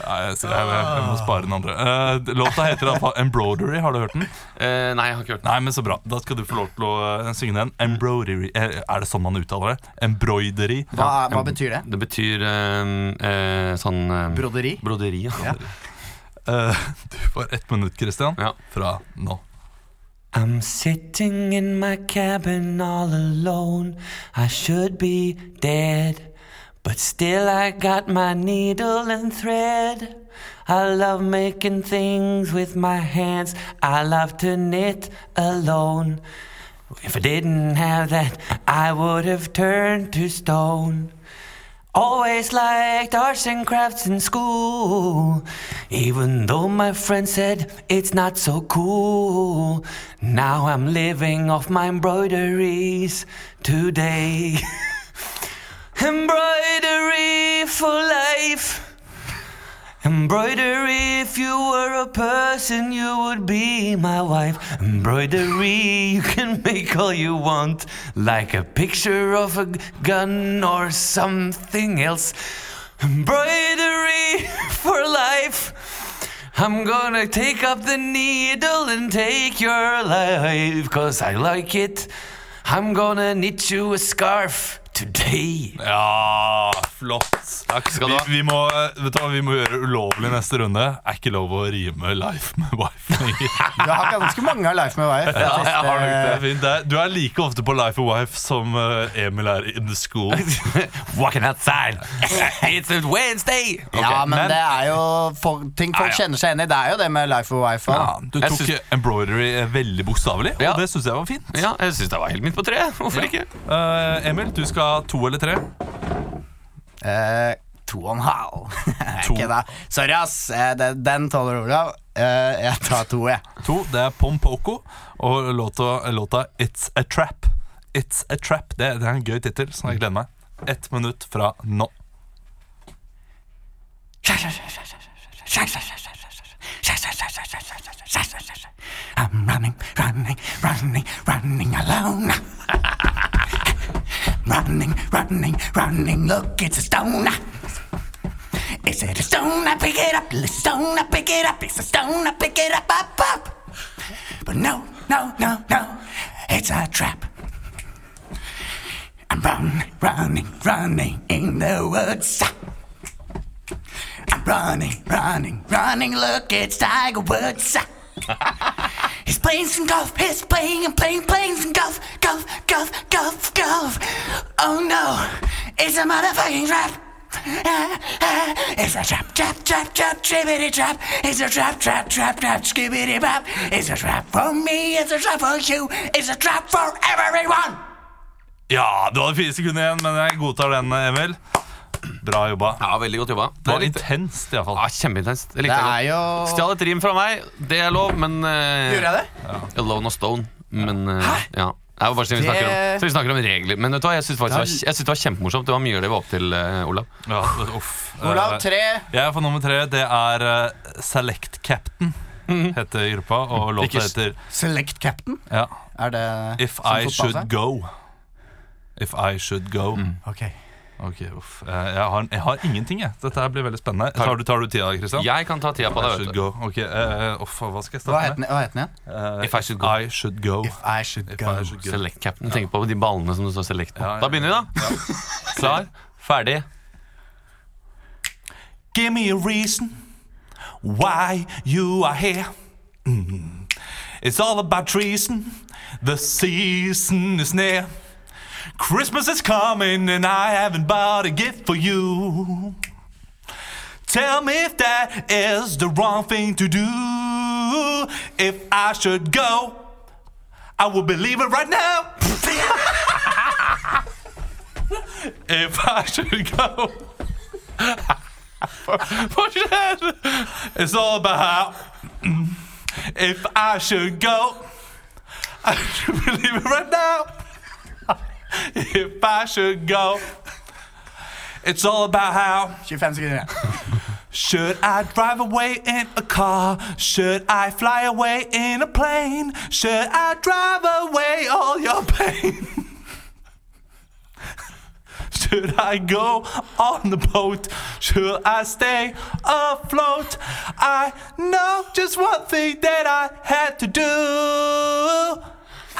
A: Nei, jeg, jeg, jeg, jeg må spare den andre. Eh, låta heter iallfall Embroidery. Har du hørt den?
D: Eh, nei, jeg har ikke hørt den.
A: Nei, men så bra. Da skal du få lov til å eh, synge den. Embroidery Eh, Er det sånn man uttaler det? Embroidery.
B: Hva, er, hva betyr det?
D: Det betyr eh, eh, sånn eh,
B: Broderi?
D: Broderi, ja.
B: Ja.
A: Eh, du får ett minutt, Christian,
D: Ja.
A: fra nå.
D: I'm sitting in my cabin all alone. I should be dead, but still I got my needle and thread. I love making things with my hands. I love to knit alone. If I didn't have that, I would have turned to stone. Always liked arts and crafts in school, even though my friends said it's not so cool. Now I'm living off my embroideries today. Embroidery for life. Embroidery, if you were a person, you would be my wife. Embroidery, you can make all you want, like a picture of a g- gun or something else. Embroidery for life. I'm gonna take up the needle and take your life, cause I like it. I'm gonna knit you a scarf today.
A: Ja, flott. Takk
D: skal du ha.
A: Vi, vi, må, eh, vet du hva, vi må gjøre ulovlig neste runde. Er ikke lov å rime life med wife lenger.
B: Du har ganske mange av Leif med wife.
D: jeg har nok
A: Det er fint. Det er- Du er like ofte på Life of Wife som eh, Emil er in the school.
D: Walking outside. It's a Wednesday.
B: Ja, men,
A: men- Ah,
B: det er jo folk, ting folk kjenner seg igjen i. Det er jo det med Life og wife.
A: Ja,
B: også.
A: du
D: Jeg
A: tok
D: syns-
A: embroidery eh, veldig bokstavelig,
D: Ja.
A: og det syns jeg var fint.
D: Ja, jeg syns det var helt midt på treet. Hvorfor ikke?
A: Eh, Emil, du skal ha to eller tre.
B: Eh, to og en halv. Jeg
A: To.
B: kødda. Sorry, ass. Eh, Den, den tåler Olav. Eh, jeg tar to, jeg.
A: To, det er Pompoko og låta, låta It's A Trap. It's A Trap, Det, det er en gøy tittel, så jeg gleder meg. Ett minutt fra nå.
F: I'm running, running, running, running alone. running, running, running, look, it's a stone. Is it a stone? I pick it up, it's a stone, I pick it up, it's a stone, I pick it up, up, up. But no, no, no, no, it's a trap. I'm running, running, running in the woods. I'm running, running, running, look, it's Tiger Woods. He's playing some golf. He's playing and playing, playing some golf, golf, golf, golf, golf. Oh no, it's a motherfucking trap. Ah, ah, It's a trap, trap, trap, trap, trippity trap. It's a trap, trap, trap, trap, skibbity bop. It's a trap for me, it's a trap for you, it's a trap for everyone.
A: Ja, du hadde fire sekunder igjen, men jeg godtar den, Emil. Bra jobba.
D: Ja, veldig godt jobba.
A: Det var intenst, iallfall.
D: ja, Kjempeintenst. Det likte
B: Det
D: jeg
B: er jo
D: godt. Stjal et rim fra meg. Det er lov, men eh,
B: Gjorde jeg det?
D: Alone og Stone. Men eh, ja. Det er jo bare sånn vi
B: Det-
D: snakker om, så vi snakker om regler. Men vet du hva, jeg syns det, var- jeg synes det var kjempemorsomt. Det var mye av det vi var opp til, eh, Olav.
A: Ja, uff.
B: Olav,
A: Eh,
B: tre.
A: Jeg får nummer tre. Det er eh, Select Captain, heter gruppa. Og
D: Ikke
A: låta
D: s-
A: heter
B: Select captain.
A: ja,
B: Er det
A: If
B: som
A: I Should
B: fotballfag?
A: Go. If I Should Go.
B: Ok.
A: Ok, uff. Eh, Jeg har, jeg har ingenting, jeg. Dette her blir veldig spennende. Tar du, tar du tida, Christian?
D: Jeg kan ta tida på
A: I
D: det.
A: should
D: Vet du.
A: go. Ok, eh, uff, hva skal jeg
B: Hva
A: starte med?
B: het den, hva het den igjen?
A: Eh,
D: If I should go.
A: I should go.
B: If I Should
A: If
B: Go.
A: I should go.
D: Select captain. Tenk på de ballene som det står select på.
A: Ja, ja,
D: Da begynner vi, da. Klar, ferdig.
A: Give me a reason why you are here. Mm. It's all about treason. The season is near. Christmas is coming, and I haven't bought a gift for you. Tell me if that is the wrong thing to do. If I should go, I would believe it right now. if I should go. It's all about mm, if I should go. I should believe it right now. If I should go. It's all about how
B: 25 sekunder igjen.
A: should I drive away in a car? Should I fly away in a plane? Should I drive away all your pain? should Should I go on the boat? Should I stay afloat? I know just one thing that I had to do.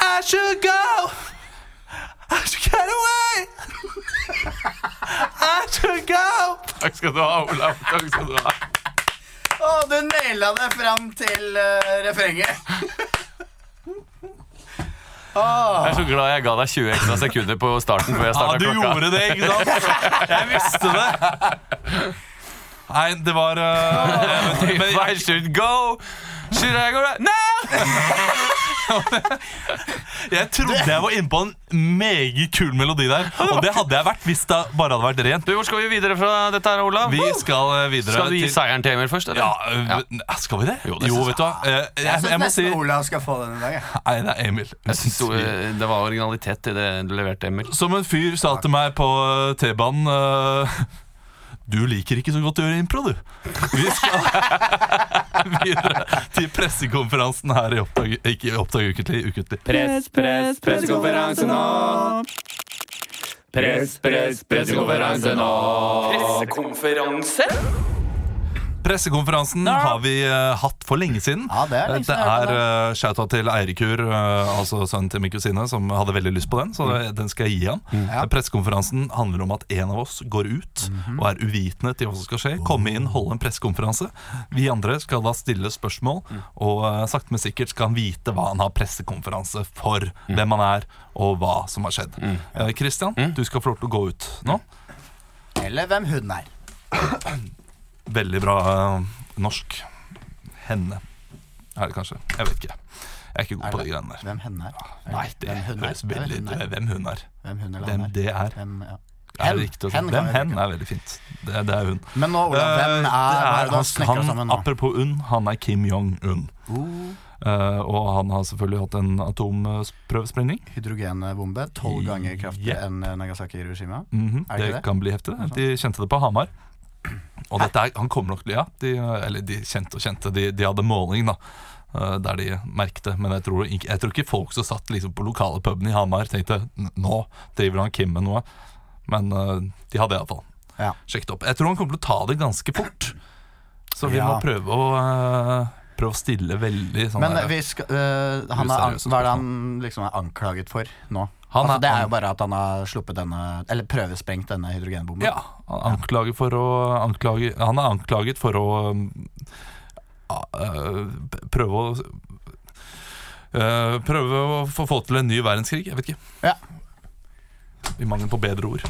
A: I should go. I should get away. I should go.
C: Takk skal du ha, Olav. Takk skal du ha.
B: Å, du naila det fram til eh, refrenget.
C: Jeg er så glad jeg ga deg 20 ekstra sekunder på starten før
A: Ja,
C: jeg startet
A: du
C: klokka.
A: gjorde det, ikke sant? Jeg visste det. Nei, det var eh, men- men-
C: If I should go, should I go right now?
A: Jeg trodde jeg var inne på en meget kul melodi der. Og det hadde jeg vært hvis det bare hadde vært rent.
C: Du, hvor skal vi videre fra dette her, Olav?
A: Vi skal eh, videre
C: skal du
A: til-
C: gi seieren til Emil først, eller?
A: Ja, øh, ne- skal vi det?
C: Jo,
A: Jo,
C: det synes
A: vet du hva. Eh, Jeg, jeg må si
B: Nesten Olav skal få den i dag. jeg.
A: Nei, det er Emil.
C: Jeg synes du, eh, det var originalitet i det du leverte, Emil.
A: Som en fyr sa til meg på eh, T-banen eh, Du liker ikke så godt å gjøre impro, du. Vi skal videre til pressekonferansen her i Oppdag, ikke, oppdag ukentlig, ukentlig.
H: Press, press, pressekonferanse nå. Press, press, pressekonferanse nå. Pressekonferanse?
A: Pressekonferansen har vi eh, hatt for lenge siden.
B: Ja, det er lenge
A: det
B: siden jeg har
A: er eh, shout-out til Eirikur, eh, altså sønnen til min kusine, som hadde veldig lyst på den, så
B: Mm.
A: den skal jeg gi han. Eh, Pressekonferansen handler om at en av oss går ut
B: Mhm.
A: og er uvitende til hva som skal skje. Komme
B: Oh.
A: inn, holde en pressekonferanse. Vi andre skal da stille spørsmål,
B: Mm.
A: og eh, sakte, men sikkert skal han vite hva han har pressekonferanse for,
B: Mm.
A: hvem han er, og hva som har skjedd. Eh, Christian, du skal få lov til å gå ut nå.
B: Eller hvem hun er.
A: Veldig bra eh, norsk. Henne. Er det kanskje? Jeg vet ikke. Jeg er ikke god
B: Er
A: på
B: det-
A: de greiene der.
B: Hvem henne er.
A: Nei, det
B: hvem hun er.
A: høres veldig
B: Hvem hun er.
A: Hvem hun er.
B: Hvem hun eller
A: Hvem
B: han er.
A: det er.
B: Hvem, ja.
A: er
B: Hen.
A: det riktig å si?
B: Hen kan
A: Hvem
B: vi
A: hen
B: bruke.
A: er veldig fint. Det, det er hun.
B: Men nå, Olav,
A: Eh,
B: hvem er, hva er det du har
A: han,
B: snekra sammen
A: han,
B: nå? Oh.
A: apropos UNN, han er Kim Jong-un. Eh, og han har selvfølgelig hatt en atomprøvesprengning.
B: Hydrogenbombe, tolv ganger kraftigere
A: Yep.
B: enn Nagasaki-regimet.
A: Mhm,
B: Er det
A: det,
B: ikke det?
A: kan bli heftig. det. De kjente det på Hamar. Og dette er, han kommer nok til Ja, de, eller de kjente og kjente. De, de hadde måling, da. eh, Der de merket det. Men jeg tror, ikke, jeg tror ikke folk som satt liksom på lokale puben i Hamar, tenkte "N- nå driver han Kim med noe. Men eh, de hadde iallfall
B: Ja.
A: sjekket opp. Jeg tror han kommer til å ta det ganske fort. Så vi må
B: Ja.
A: prøve å eh, Prøve å stille veldig sånn
B: Men
A: der-
B: vi skal, øh, han er, an-
A: Useriøse
B: hva er det han liksom er anklaget for nå?
A: Han
B: altså,
A: er-
B: det er
A: han-
B: jo bare at han har sluppet denne Eller prøvesprengt denne hydrogenbomben.
A: Ja, han er anklaget for å anklage, Han er anklaget for å um, a- øh, p- prøve å øh, Prøve å få, få til en ny verdenskrig. Jeg vet ikke.
B: Ja.
A: I mangel på bedre ord.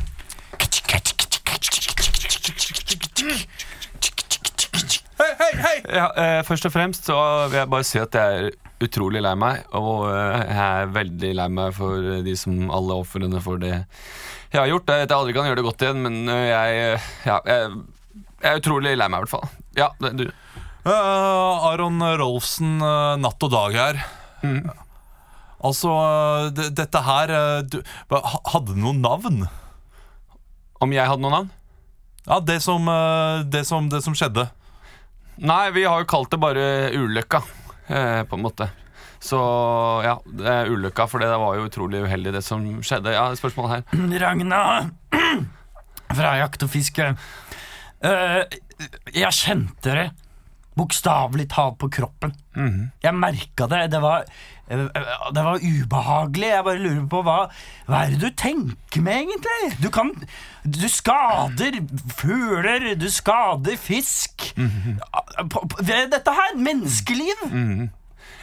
C: Ja, eh, først og fremst så vil jeg bare si at jeg er utrolig lei meg. Og eh, jeg er veldig lei meg for eh, de som alle ofrene for det jeg har gjort. Jeg vet jeg aldri kan gjøre det godt igjen, men eh, jeg, eh, ja, jeg, jeg er utrolig lei meg i hvert fall. Ja, det, du.
A: Eh, Aron Rolfsen, eh, natt og dag her.
C: Mm.
A: Altså, eh, det- dette her eh, du, hva- ha- Hadde det noe navn?
C: Om jeg hadde noe navn?
A: Ja, det som, eh, det som, det som skjedde.
C: Nei, vi har jo kalt det bare ulykka, eh, på en måte. Så ja, det er ulykka, for det var jo utrolig uheldig, det som skjedde. Ja, spørsmål her.
E: Ragna fra Jakt og Fiske. Eh, jeg kjente det bokstavelig talt på kroppen. Jeg merka det. Det var, eh, det var ubehagelig. Jeg bare lurer på hva, hva er det du tenker med, egentlig? Du kan Du skader fugler, du skader fisk. Ah, På- på- ved Dette her, menneskeliv!
C: Mhm.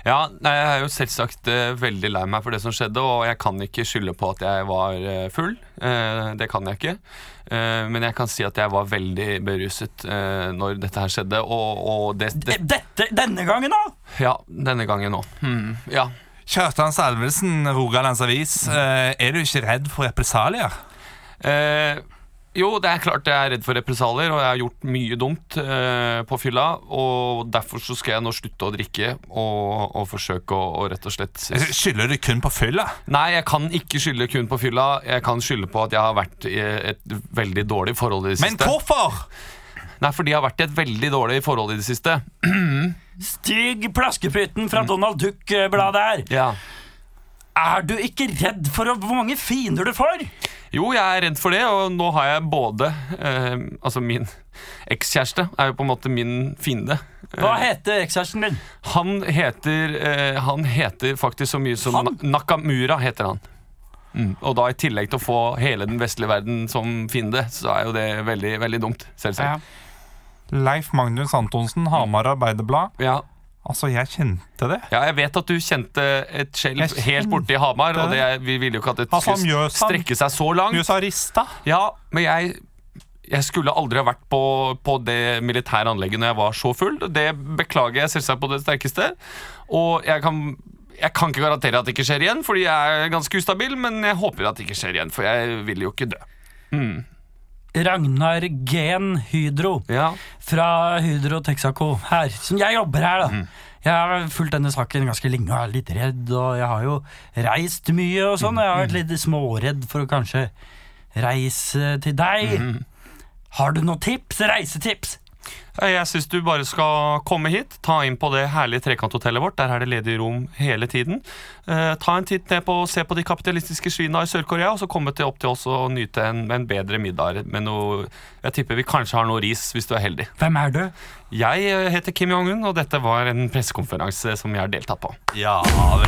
C: Ja, nei, jeg er jo selvsagt eh, veldig lei meg for det som skjedde, og jeg kan ikke skylde på at jeg var eh, full. Eh, det kan jeg ikke. Eh, men jeg kan si at jeg var veldig beruset eh, når dette her skjedde, og, og det, det
E: Dette, denne gangen, da!
C: Ja, denne gangen òg. Hmm, ja.
A: Kjartan Salvesen, Rogalands Avis. Eh, er du ikke redd for represalier?
C: Eh, jo, det er klart jeg er redd for represalier, og jeg har gjort mye dumt eh, på fylla. Og derfor så skal jeg nå slutte å drikke og, og forsøke å, å rett og slett
A: Skylder du kun på fylla?
C: Nei, jeg kan ikke skylde kun på fylla. Jeg kan skylde på at jeg har vært i et veldig dårlig forhold i det
A: Men
C: siste.
A: hvorfor?
C: Nei, fordi jeg har vært i et veldig dårlig forhold i det siste.
E: Stig Plaskepytten fra Donald Duck-bladet her.
C: Ja.
E: Er du ikke redd for å- hvor mange fiender du får?
C: Jo, jeg er redd for det, og nå har jeg både eh, Altså, min ekskjæreste er jo på en måte min fiende.
E: Hva heter ekskjæresten din?
C: Han heter, eh, han heter faktisk så mye som
E: Han?
C: Na- Nakamura heter han. Mm. Og da i tillegg til å få hele den vestlige verden som fiende, så er jo det veldig, veldig dumt. Selvsagt.
I: Leif Magnus Antonsen, Hamar Arbeiderblad.
C: Ja.
I: Altså, jeg kjente det.
C: ja, jeg vet at du kjente et skjelv
I: Jeg
C: helt borti Hamar, og det,
I: kjente
C: vi ville jo ikke at det
I: Altså, han
C: skulle
I: gjør sant.
C: strekke seg så langt.
I: USA rista.
C: Ja, men jeg jeg skulle aldri ha vært på, på det militære anlegget når jeg var så full. Det beklager jeg selvsagt på det sterkeste. Og jeg kan, jeg kan ikke garantere at det ikke skjer igjen, fordi jeg er ganske ustabil, men jeg håper at det ikke skjer igjen, for jeg vil jo ikke dø.
E: Ragnar Gen Hydro
C: Ja,
E: fra Hydro Texaco her. Som jeg jobber her, da. Jeg har fulgt denne saken ganske lenge og er litt redd, og jeg har jo reist mye og sånn. og Jeg har vært litt småredd for å kanskje reise til deg. Har du noen tips? Reisetips?
C: Jeg syns du bare skal komme hit, ta inn på det herlige trekanthotellet vårt. Der er det ledige rom hele tiden. Eh, ta en titt ned på se på de kapitalistiske svina i Sør-Korea, og så komme til, opp til oss og nyte en, en bedre middag med noe Jeg tipper vi kanskje har noe ris, hvis du er heldig.
E: Hvem er du?
C: Jeg eh, heter Kim Jong-un, og dette var en pressekonferanse som jeg har deltatt på.
A: Ja,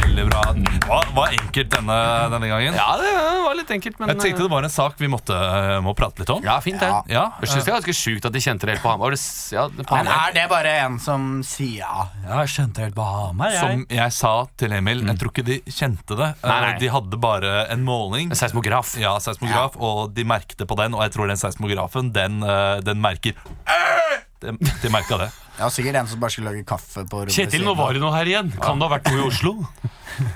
A: veldig bra. Det var, var enkelt denne, denne gangen.
C: Ja, det var litt enkelt, men eh,
A: Jeg tenkte det var en sak vi måtte, eh, må prate litt om.
C: Ja, fint, det.
A: Ja,
C: Jeg syns det er ganske sjukt at de kjente det helt på Hamar. Det s- Ja, på
B: Men
C: Hamar.
B: er det bare en som sier ja?
E: Jeg skjønte helt Bahamar, jeg.
A: Som jeg sa til Emil, jeg tror ikke de kjente det.
C: Nei, nei.
A: Eh, De hadde bare en måling.
C: En seismograf.
A: Ja, seismograf, og de merkte på den, og jeg tror den seismografen, den, eh, den merker de, de merka det.
B: Det var sikkert en som bare skulle lage kaffe på rommet
C: Kjetil, nå var det noe her igjen. Kan det ha vært noe i Oslo?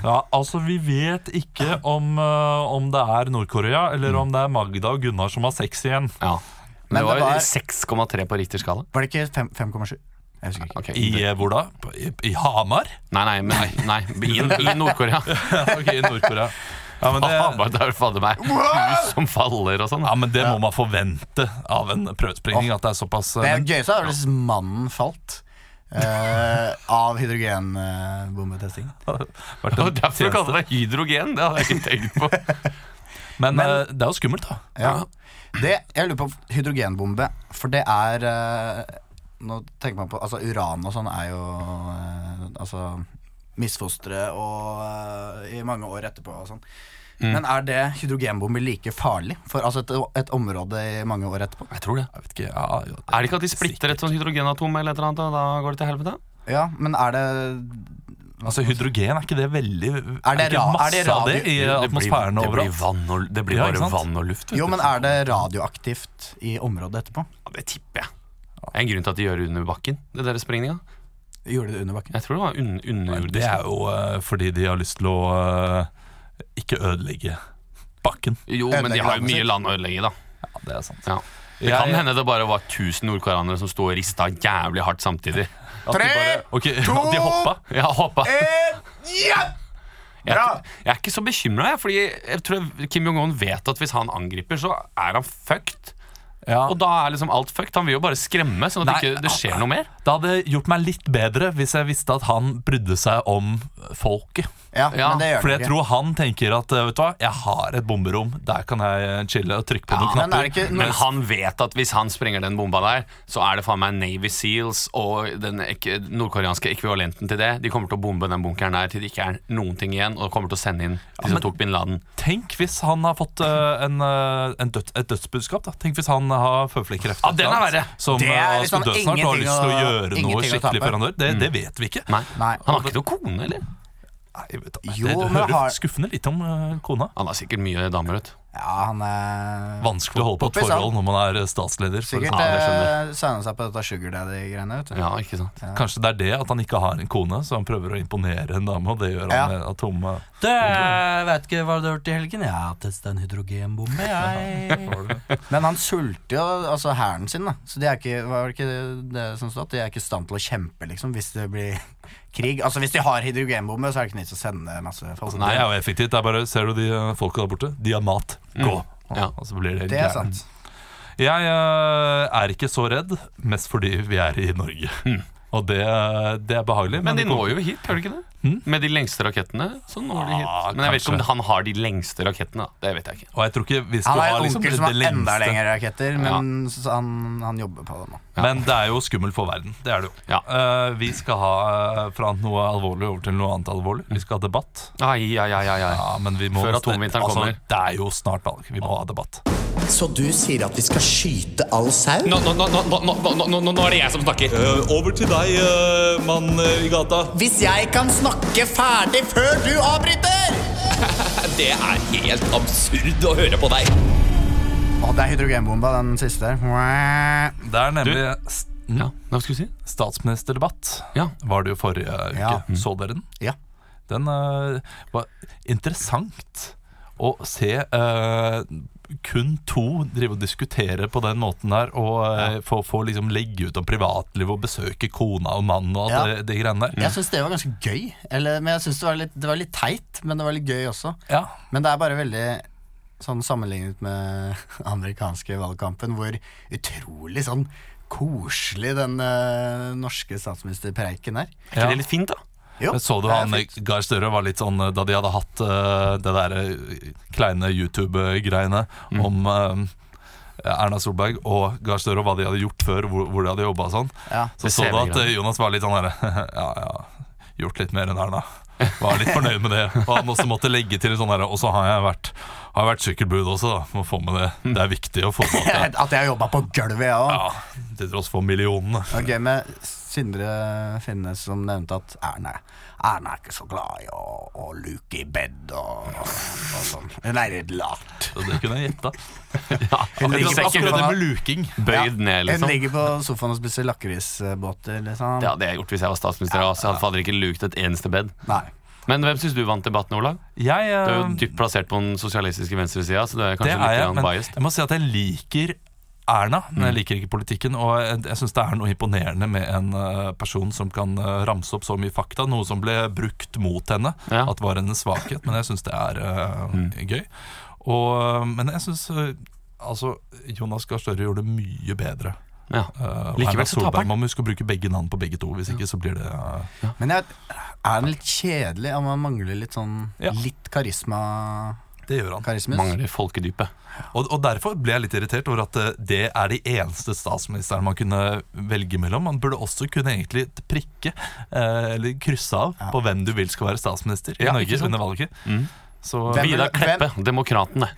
A: Ja, altså, vi vet ikke om, eh, om det er Nord-Korea, eller om det er Magda og Gunnar som har sex igjen.
C: Ja.
B: Men
C: Men det
B: det
C: var
B: var-
C: 6,3 på Richter-skala.
B: Var det ikke fem- 5,7? Jeg husker ikke.
C: Ok.
A: I eh, hvor da? På- I, i Hamar?
C: Nei, nei, men, nei. I, i Nord-Korea.
A: ok, i Nord-Korea. Ja, men det,
C: Hamar, Ah, der fader meg hus som faller og sånn.
A: ja, men det må man forvente av en prøvesprengning, at det er såpass eh,
B: Det
A: men-
B: gøyeste er hvis mannen falt eh, av hydrogenbombetestingen.
A: vært
C: Og
A: en
C: derfor
A: tjeneste.
C: kaller det hydrogen. Det hadde jeg ikke tenkt på.
A: Men, eh, det er jo skummelt, da.
B: Ja. Det, jeg lurer på hydrogenbombe, for det er eh, Nå tenker man på Altså, uran og sånn er jo eh, Altså misfostre og eh, i mange år etterpå og sånn.
A: Mm.
B: Men er det hydrogenbomber like farlig for altså et, et område i mange år etterpå?
C: Jeg tror det.
A: Jeg vet ikke, ja, jo,
C: Er det ikke at de splitter et sånt hydrogenatom eller et eller annet, og da går det til helvete?
B: Ja, men er det
A: Altså Hydrogen, er ikke det veldig Er det,
B: ra-
A: ikke masse
B: er det
A: av det
B: radio-
A: i atmosfæren
C: det blir,
A: overalt?
C: vann og, det blir
A: Ja, ikke
C: bare
A: sant?
C: vann og luft. vet
B: Jo,
C: du.
B: men er det radioaktivt i området etterpå?
C: Ja, Det tipper jeg. Det er en grunn til at de gjør det under bakken. Det der springninga.
B: Gjorde det under bakken?
C: Jeg tror det var un
A: Det
C: underjordisk.
A: er jo eh, fordi de har lyst til å eh, ikke ødelegge bakken.
C: Jo, men de
B: Ødelegger
C: har jo
B: landet
C: mye
B: sitt.
C: land å ødelegge, da.
A: Ja, det er sant.
C: Ja. Det
A: Jeg-
C: kan hende det bare var 1000 nordkoreanere som sto og rista jævlig hardt samtidig.
B: Tre,
A: Ok, De hoppa.
C: Jeg håpa
B: én, ja!
C: Jeg, er ikke- jeg er ikke så bekymra, fordi jeg tror Kim Jong-un vet at hvis han angriper, så er han fucked.
A: Ja.
C: Og da er liksom alt fucked. Han vil jo bare skremme, sånn
A: Nei,
C: at ikke det ikke skjer noe mer.
A: Det hadde gjort meg litt bedre hvis jeg visste at han brydde seg om folket.
B: Ja,
C: Ja,
B: men det gjør
A: For
B: det
A: jeg tror han tenker at eh, vet du hva, jeg har et bomberom, der kan jeg chille og trykke på noen
B: Men er
A: knapper.
B: det ikke
C: Men han vet at hvis han sprenger den bomba der, så er det faen meg Navy Seals og den ek- nordkoreanske ekvivalenten til det. De kommer til å bombe den bunkeren der til det ikke er noen ting igjen, og kommer til å sende inn de som
A: men-
C: tok bin Laden.
A: Tenk hvis han har fått eh, en, eh, en død, et dødsbudskap. da Tenk hvis han har føflekkreft.
C: Ja, den er verre.
A: Som
B: Det er
A: eh,
B: liksom
A: skal dø snart og har
B: ingenting
A: lyst til å
B: å-
A: gjøre noe
B: ingenting å
A: skikkelig
B: tape. Mm.
A: før han dør. Det, det vet vi ikke.
C: Nei.
B: Nei.
C: Han har ikke noe kone, eller?
A: Nei, jeg vet,
B: Jo,
A: det, det
B: men
A: hører
B: har-
A: skuffende litt om eh, kona.
C: Han har sikkert mye damer, vet du.
B: Ja, han er
A: Vanskelig å holde på et
B: Poppis, han.
A: forhold når man er eh, statsleder. For,
B: Sikkert eh,
C: Ja, det
B: ja,
A: sånn.
C: skjønner
B: signa seg på dette sugar daddy-greiene. vet du
C: Ja, ikke sant?
A: Kanskje det er det at han ikke har en kone, så han prøver å imponere en dame, og det gjør
B: Ja.
A: han med eh. atomme
E: Det, jeg vet ikke hva du har hørt i helgen. Jeg har testa en hydrogenbombe, jeg.
B: Men han sulter jo altså hæren sin, da. Så de er ikke, var det ikke det som stod? De er ikke i stand til å kjempe, liksom, hvis det blir krig. Altså Hvis de har hydrogenbombe, så er det ikke nytt å sende masse folk.
A: Det er jo effektivt. Det er bare, Ser du de eh, folka der borte? De har mat. Gå!
C: Ja.
A: Og så blir det, helt
B: Mm. det er
A: gærent.
B: sant.
A: Jeg eh, er ikke så redd, mest fordi vi er i Norge. Og det, det er behagelig.
C: Mm. Men de
A: det
C: når jo hit, gjør de ikke det? Med de lengste rakettene. så når de hit
A: Ah,
C: Men jeg vet ikke om
A: kanskje.
C: han har de lengste rakettene. da. Det vet jeg ikke
A: Og jeg tror ikke hvis du
B: Han
A: har
B: har en
A: liksom
B: onkel som har
A: det
B: enda
A: lengste
B: lengre raketter, men så han, han jobber på det nå.
A: Men det er jo skummelt for verden. Det er det jo.
C: Ja.
A: Eh, vi skal ha eh, fra noe alvorlig over til noe annet alvorlig. Vi skal ha debatt.
C: Ai, ai, ai, ai, ai.
A: Ja, men vi må Altså,
C: Før atomvinteren kommer.
A: Det er jo snart valg. Vi må ha debatt.
J: Så du sier at vi skal skyte all sau?
D: Nå, nå, nå, nå, nå, nå, nå, nå er det jeg som snakker.
G: Eh, over til deg, eh, mann i gata.
J: Hvis jeg kan snakke ferdig før du avbryter!
D: Det er helt absurd å høre på deg.
B: Å, det er hydrogenbomba, den siste der.
A: Det er nemlig s- mm,
C: Ja, hva skulle du si?
A: statsministerdebatt.
C: Ja.
A: Var det jo forrige uke.
B: Ja. Mm.
A: Så dere den?
B: Ja.
A: Den eh, var interessant å se eh, kun to drive og diskutere på den måten der, og eh, få, få liksom legge ut om privatliv og besøke kona og mannen og alt
B: Ja.
A: det, de greiene der.
B: Jeg syns det var ganske gøy. Eller, men jeg synes det, var litt, det var litt teit, men det var litt gøy også.
A: Ja.
B: Men det er bare veldig sånn sammenlignet med amerikanske valgkampen, hvor utrolig sånn koselig den eh, norske statsministerpreiken er.
C: Er ikke det litt fint, da?
B: Jo,
A: Men så du
B: det er
A: han
B: fint.
A: Gahr Støre var litt sånn eh, da de hadde hatt eh, det derre kleine YouTube-greiene
B: Mm.
A: om eh, Erna Solberg og Gahr Støre og hva de hadde gjort før, hvor, hvor de hadde jobba sånn,
B: Ja.
A: så
C: Det
A: så
C: ser
A: du
C: vi
A: at
C: grann.
A: eh, Jonas var litt sånn derre Ja, ja, gjort litt mer enn Erna. Var litt fornøyd med det. Og han også måtte legge til sånn derre Og så har jeg vært Har jeg vært sykkelbud også, da. Må få med det. Det er viktig å få med at jeg-
B: At jeg har jobba på gulvet, jeg òg.
A: Ja, til tross for millionene.
B: Det var gøy med Sindre Finnes som nevnte at Erna, Erna er ikke så glad i å, å luke i bed og, og sånn. Hun er litt lat.
A: Så det kunne jeg gjetta.
C: Ja.
A: Jeg tror
B: ligger på
A: Akkurat det
B: sofaen.
A: med luking.
C: Bøyd ned,
B: Hun
A: sånn.
C: liksom.
B: ligger på sofaen og spiser lakrisbåter, liksom.
C: Det hadde jeg gjort hvis jeg var statsminister. Ja, så hadde fader ikke lukt et eneste bed.
B: Nei.
C: Men hvem syns du vant debatten, Olav?
A: Jeg
C: Du er
A: eh,
C: jo dypt plassert på den sosialistiske venstresida, så du er
A: Det
C: kanskje
A: er
C: litt
A: jeg,
C: grann
A: men
C: biased. Mm.
A: jeg må si at jeg liker Erna, men jeg liker ikke politikken. Og jeg, jeg syns det er noe imponerende med en eh, person som kan eh, ramse opp så mye fakta. Noe som ble brukt mot henne,
C: Ja. Mm.
A: at var hennes svakhet. Men jeg syns det er eh, gøy. Og, eh, men jeg syns altså, Jonas Gahr Støre gjorde det mye bedre.
C: Ja.
A: Eh, og
C: Likevel
A: Erna
C: så
A: Solberg
C: taper han.
A: Man må huske å bruke begge navn på begge to, hvis ikke så blir det eh,
B: Men jeg, vet, er den litt kjedelig? Ja, man mangler litt sånn
A: Ja.
B: Litt karisma
A: Det gjør han.
B: karismus?
C: Mangler folkedypet.
A: Og, og derfor ble jeg litt irritert over at eh, det er de eneste statsministeren man kunne velge mellom. Man burde også kunne egentlig prikke, eh, eller krysse av, på hvem du vil skal være statsminister i
C: Ja,
A: Norge
C: ikke sant? Mm.
A: under valget. Så eh,
B: Hvem-
A: vi
C: Vidar
B: hvem-
C: Kleppe, demokratene.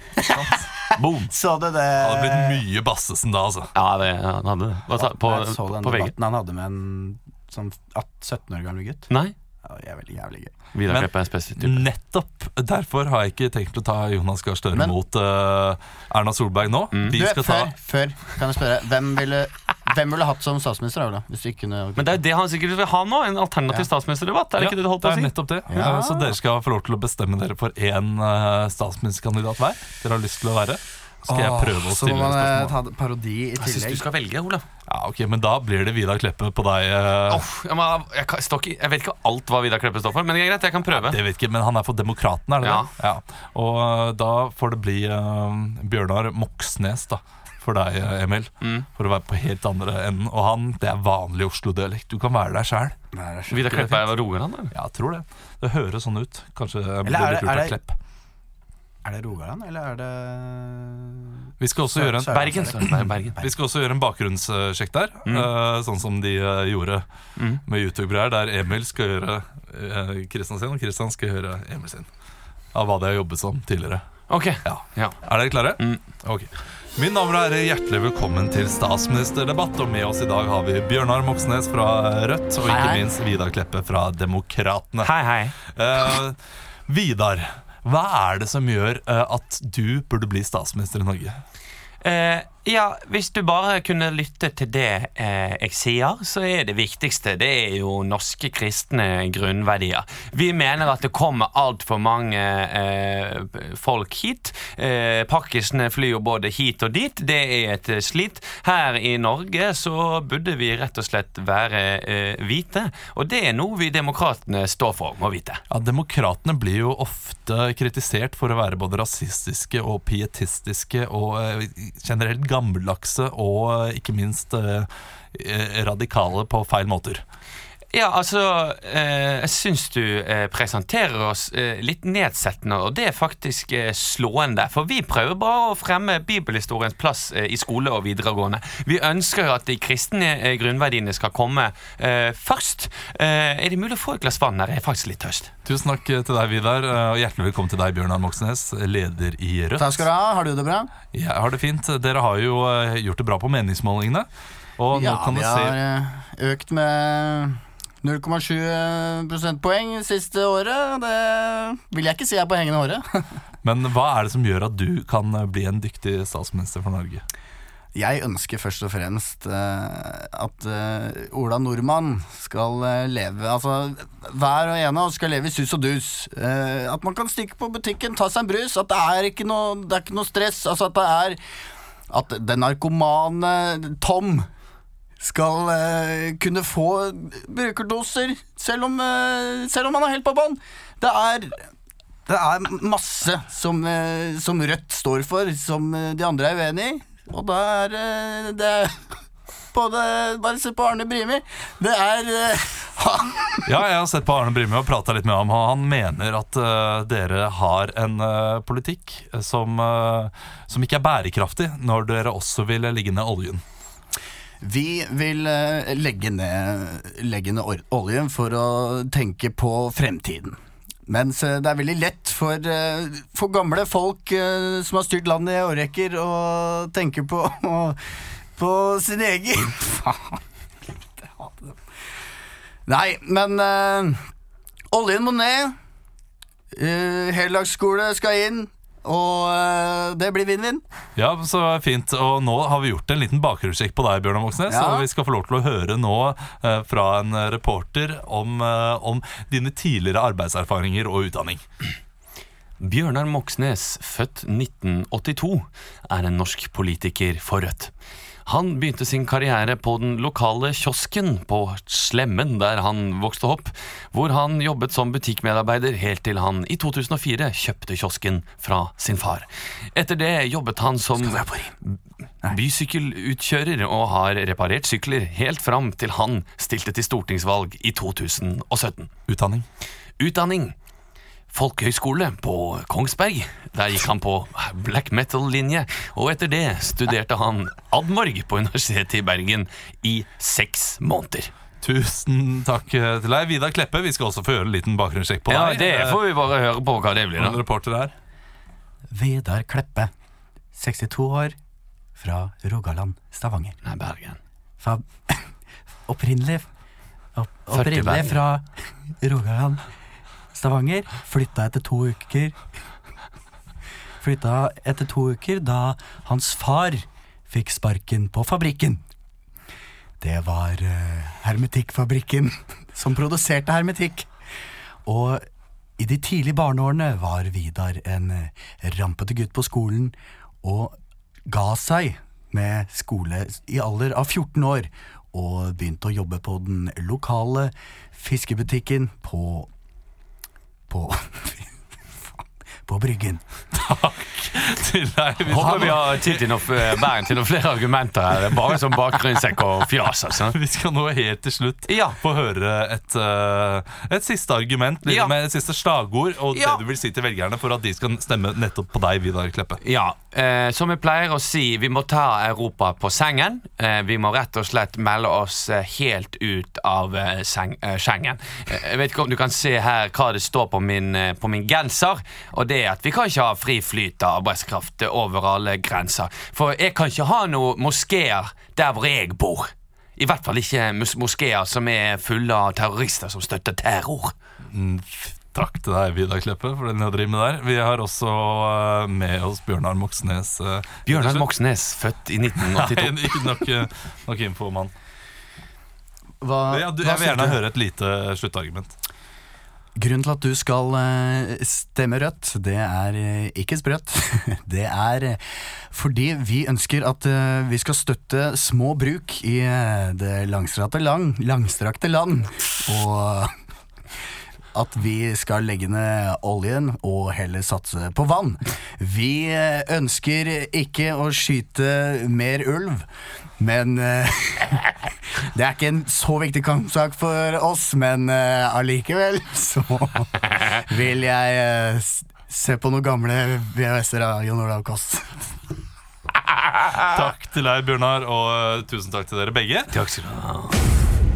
C: Boom!
B: Så du det?
A: hadde blitt mye Bassesen da, altså.
C: Ja, det han hadde det. Hva sa- På,
B: jeg så den
C: på VG?
B: debatten han hadde med en sånn 18 17 år gammel gutt.
C: Nei?
B: Ja, det er veldig jævlig gøy.
C: Vidar
A: Men-
C: Kleppe er spesiell type.
A: Nettopp derfor har jeg ikke tenkt å ta Jonas Gahr Støre
B: Men-
A: mot eh, Erna Solberg nå. Vi
C: Mm.
B: Du,
A: skal ta
B: før, før, kan jeg spørre, hvem ville, hvem ville hatt som statsminister, Ola? Hvis du ikke kunne
C: Men det er jo det han sikkert vil ha nå. En alternativ statsministerdebatt. Er det
A: Ja,
C: ikke det du holdt på å
A: er
C: si?
A: nettopp det. Eh, Så dere skal få lov til å bestemme dere for én eh, statsministerkandidat hver. Dere har lyst til å være. Skal jeg prøve å
B: Så må
A: stille
B: man eh,
A: spørsmål?
B: ta det- parodi i
C: Jeg syns
B: tillegg.
C: du skal velge, Olav.
A: Ja, ok, Men da blir det Vidar Kleppe på deg. eh,
C: Åh, jeg, må, ah, jeg, kan- står ikke, jeg vet ikke alt hva Vidar Kleppe står for, men det er greit, jeg kan prøve.
A: Det vet ikke, Men han er for Demokratene, er det
C: Ja.
A: det? Ja. Og eh, da får det bli eh, Bjørnar Moxnes da for deg, eh, Emil.
C: Mm.
A: For å være på helt andre enden. Og han, det er vanlig Oslo-dialekt. Du kan være deg sjæl.
C: Vidar Kleppe er Rogaland, eller?
A: Ja, jeg tror det. Det høres sånn ut. Kanskje det
B: Eller
A: blir
B: er
A: litt
B: det-
A: lurt
B: er
A: av
B: det-
A: Klepp.
B: Er det Rogaland, eller er det
A: Vi skal også gjøre en
B: Sør-
C: Bergen. Bergen. Bergen.
A: Vi skal også gjøre en bakgrunnssjekk der, eh, sånn som de eh, gjorde med YouTube-greier, der Emil skal gjøre eh, Kristian sin, og Kristian skal gjøre Emil sin. Av hva de har jobbet som tidligere.
C: Ok.
A: Ja.
C: Ja.
A: Er dere klare? Ok. Mine damer og herrer, hjertelig velkommen til statsministerdebatt. Og med oss i dag har vi Bjørnar Moxnes fra Rødt, og ikke minst Vidar Kleppe fra Demokratene.
C: Hei, hei.
A: Eh, Vidar, hva er det som gjør eh, at du burde bli statsminister i Norge?
D: Eh, ja, hvis du bare kunne lytte til det eh, jeg sier, så er det viktigste det er jo norske kristne grunnverdier. Vi mener at det kommer altfor mange eh, folk hit. Eh, pakkisene flyr jo både hit og dit. Det er et eh, slit. Her i Norge så burde vi rett og slett være eh, hvite, og det er noe vi demokratene står for, må vite.
A: Ja, Demokratene blir jo ofte kritisert for å være både rasistiske og pietistiske og eh, generelt gammeldagse og eh, ikke minst eh, eh, radikale på feil måter.
C: Ja, altså, eh, jeg syns du eh, presenterer oss eh, litt nedsettende, og det er faktisk eh, slående. For vi prøver bare å fremme bibelhistoriens plass eh, i skole og videregående. Vi ønsker jo at de kristne eh, grunnverdiene skal komme eh, først. Eh, er det mulig å få et glass vann her? Jeg er faktisk litt tørst.
A: Tusen takk til deg, Vidar, eh, og hjertelig velkommen til deg, Bjørnar Moxnes, leder i Rødt.
B: Takk skal du ha. Har du det bra?
A: Jeg har det fint. Dere har jo eh, gjort det bra på meningsmålingene. Og nå
B: Ja,
A: kan det
B: vi har
A: se
B: eh, økt med 0,7 eh, prosentpoeng siste året. Det vil jeg ikke si er på hengende håret.
A: Men hva er det som gjør at du kan eh, bli en dyktig statsminister for Norge?
B: Jeg ønsker først og fremst eh, at eh, Ola Nordmann skal eh, leve Altså hver og en av oss skal leve i sus og dus. Eh, at man kan stikke på butikken, ta seg en brus. At det er ikke noe, det er ikke noe stress. Altså at det er At den narkomane Tom skal eh, kunne få brukerdoser selv om, eh, selv om han er helt på bånn. Det er det er masse som, eh, som Rødt står for, som eh, de andre er uenig i. Og da er eh, det både, Bare se på Arne Brimi. Det er eh, han,
A: Ja, jeg har sett på Arne Brymme og prata litt med ham, og han mener at eh, dere har en eh, politikk som, eh, som ikke er bærekraftig, når dere også vil legge ned oljen.
B: Vi vil eh, legge ned, legge ned or- oljen for å tenke på fremtiden. Mens eh, det er veldig lett for, eh, for gamle folk eh, som har styrt landet i årrekker, å tenke på, på sin egen Faen. Jeg hater det. Nei, men eh, oljen må ned. Eh, heldagsskole skal inn. Og eh, det blir vinn-vinn.
A: Ja, så fint. Og nå har vi gjort en liten bakgrunnssjekk på deg, Bjørnar Moxnes.
B: Ja.
A: Og vi skal få lov til å høre nå eh, fra en reporter om, eh, om dine tidligere arbeidserfaringer og utdanning.
C: Bjørnar Moxnes, født 1982, er en norsk politiker for Rødt. Han begynte sin karriere på den lokale kiosken på Slemmen, der han vokste opp, hvor han jobbet som butikkmedarbeider helt til han i 2004 kjøpte kiosken fra sin far. Etter det jobbet han som bysykkelutkjører og har reparert sykler helt fram til han stilte til stortingsvalg i 2017.
A: Utdanning.
C: Utdanning folkehøyskole på Kongsberg. Der gikk han på black metal-linje, og etter det studerte han Admorg på Universitetet i Bergen i seks måneder.
A: Tusen takk eh, til deg, Vidar Kleppe. Vi skal også få gjøre en liten bakgrunnssjekk på
C: Ja,
A: deg.
C: det
A: Eh,
C: får vi bare høre på hva det blir,
A: en
C: da.
A: reporter her.
B: Vedar Kleppe, 62 år, fra Rogaland, Stavanger.
C: Nei, Bergen.
B: Fra, opprinnelig opp,
C: Førteberg.
B: opprinnelig fra Rogaland, Stavanger. Flytta etter to uker. Flytta etter to uker da hans far fikk sparken på fabrikken. Det var eh, Hermetikkfabrikken som produserte hermetikk. Og i de tidlige barneårene var Vidar en eh, rampete gutt på skolen og ga seg med skole i alder av 14 år og begynte å jobbe på den lokale fiskebutikken på på på Bryggen.
A: Til deg, Vidar.
C: Håper vi har tid til noe, eh, Bergen, til noen flere argumenter her. Det er Bare som bakgrunnssekk og fjas, altså.
A: Vi skal nå helt til slutt
C: Ja.
A: få høre et, eh, et siste argument, litt
C: Ja.
A: med et siste slagord, og
C: Ja.
A: det du vil si til velgerne for at de skal stemme nettopp på deg, Vidar Kleppe.
C: Ja, eh, som jeg pleier å si, vi må ta Europa på sengen. Eh, vi må rett og slett melde oss eh, helt ut av eh, seng, eh, Schengen. Eh, jeg vet ikke om du kan se her hva det står på min, eh, på min genser, og det er at vi kan ikke ha fri flyt av arbeidskraft eh, over alle grenser. For jeg kan ikke ha noen moskeer der hvor jeg bor. I hvert fall ikke mos moskeer som er fulle av terrorister som støtter terror.
A: Mm, Takk til deg, Vidar Kleppe, for den du driver med der. Vi har også eh, med oss Bjørnar Moxnes. eh,
C: Bjørnar Moxnes, født i
A: Nei,
C: 1982.
A: ikke nok, eh, nok info, mann.
B: Hva,
A: Ja, du, jeg vil gjerne høre et lite sluttargument.
B: Grunnen til at du skal eh, stemme rødt, det er eh, ikke sprøtt. Det er eh, fordi vi ønsker at eh, vi skal støtte små bruk i eh, det langstrakte land. Langstrakte land. Og at vi skal legge ned oljen og heller satse på vann. Vi eh, ønsker ikke å skyte mer ulv, men eh, Det er ikke en så viktig kampsak for oss, men eh, allikevel så vil jeg eh, s- se på noen gamle VHS-er av Jon Olav Koss.
A: Takk til deg, Bjørnar, og eh, tusen takk til dere begge.
D: Takk skal du ha. Ja.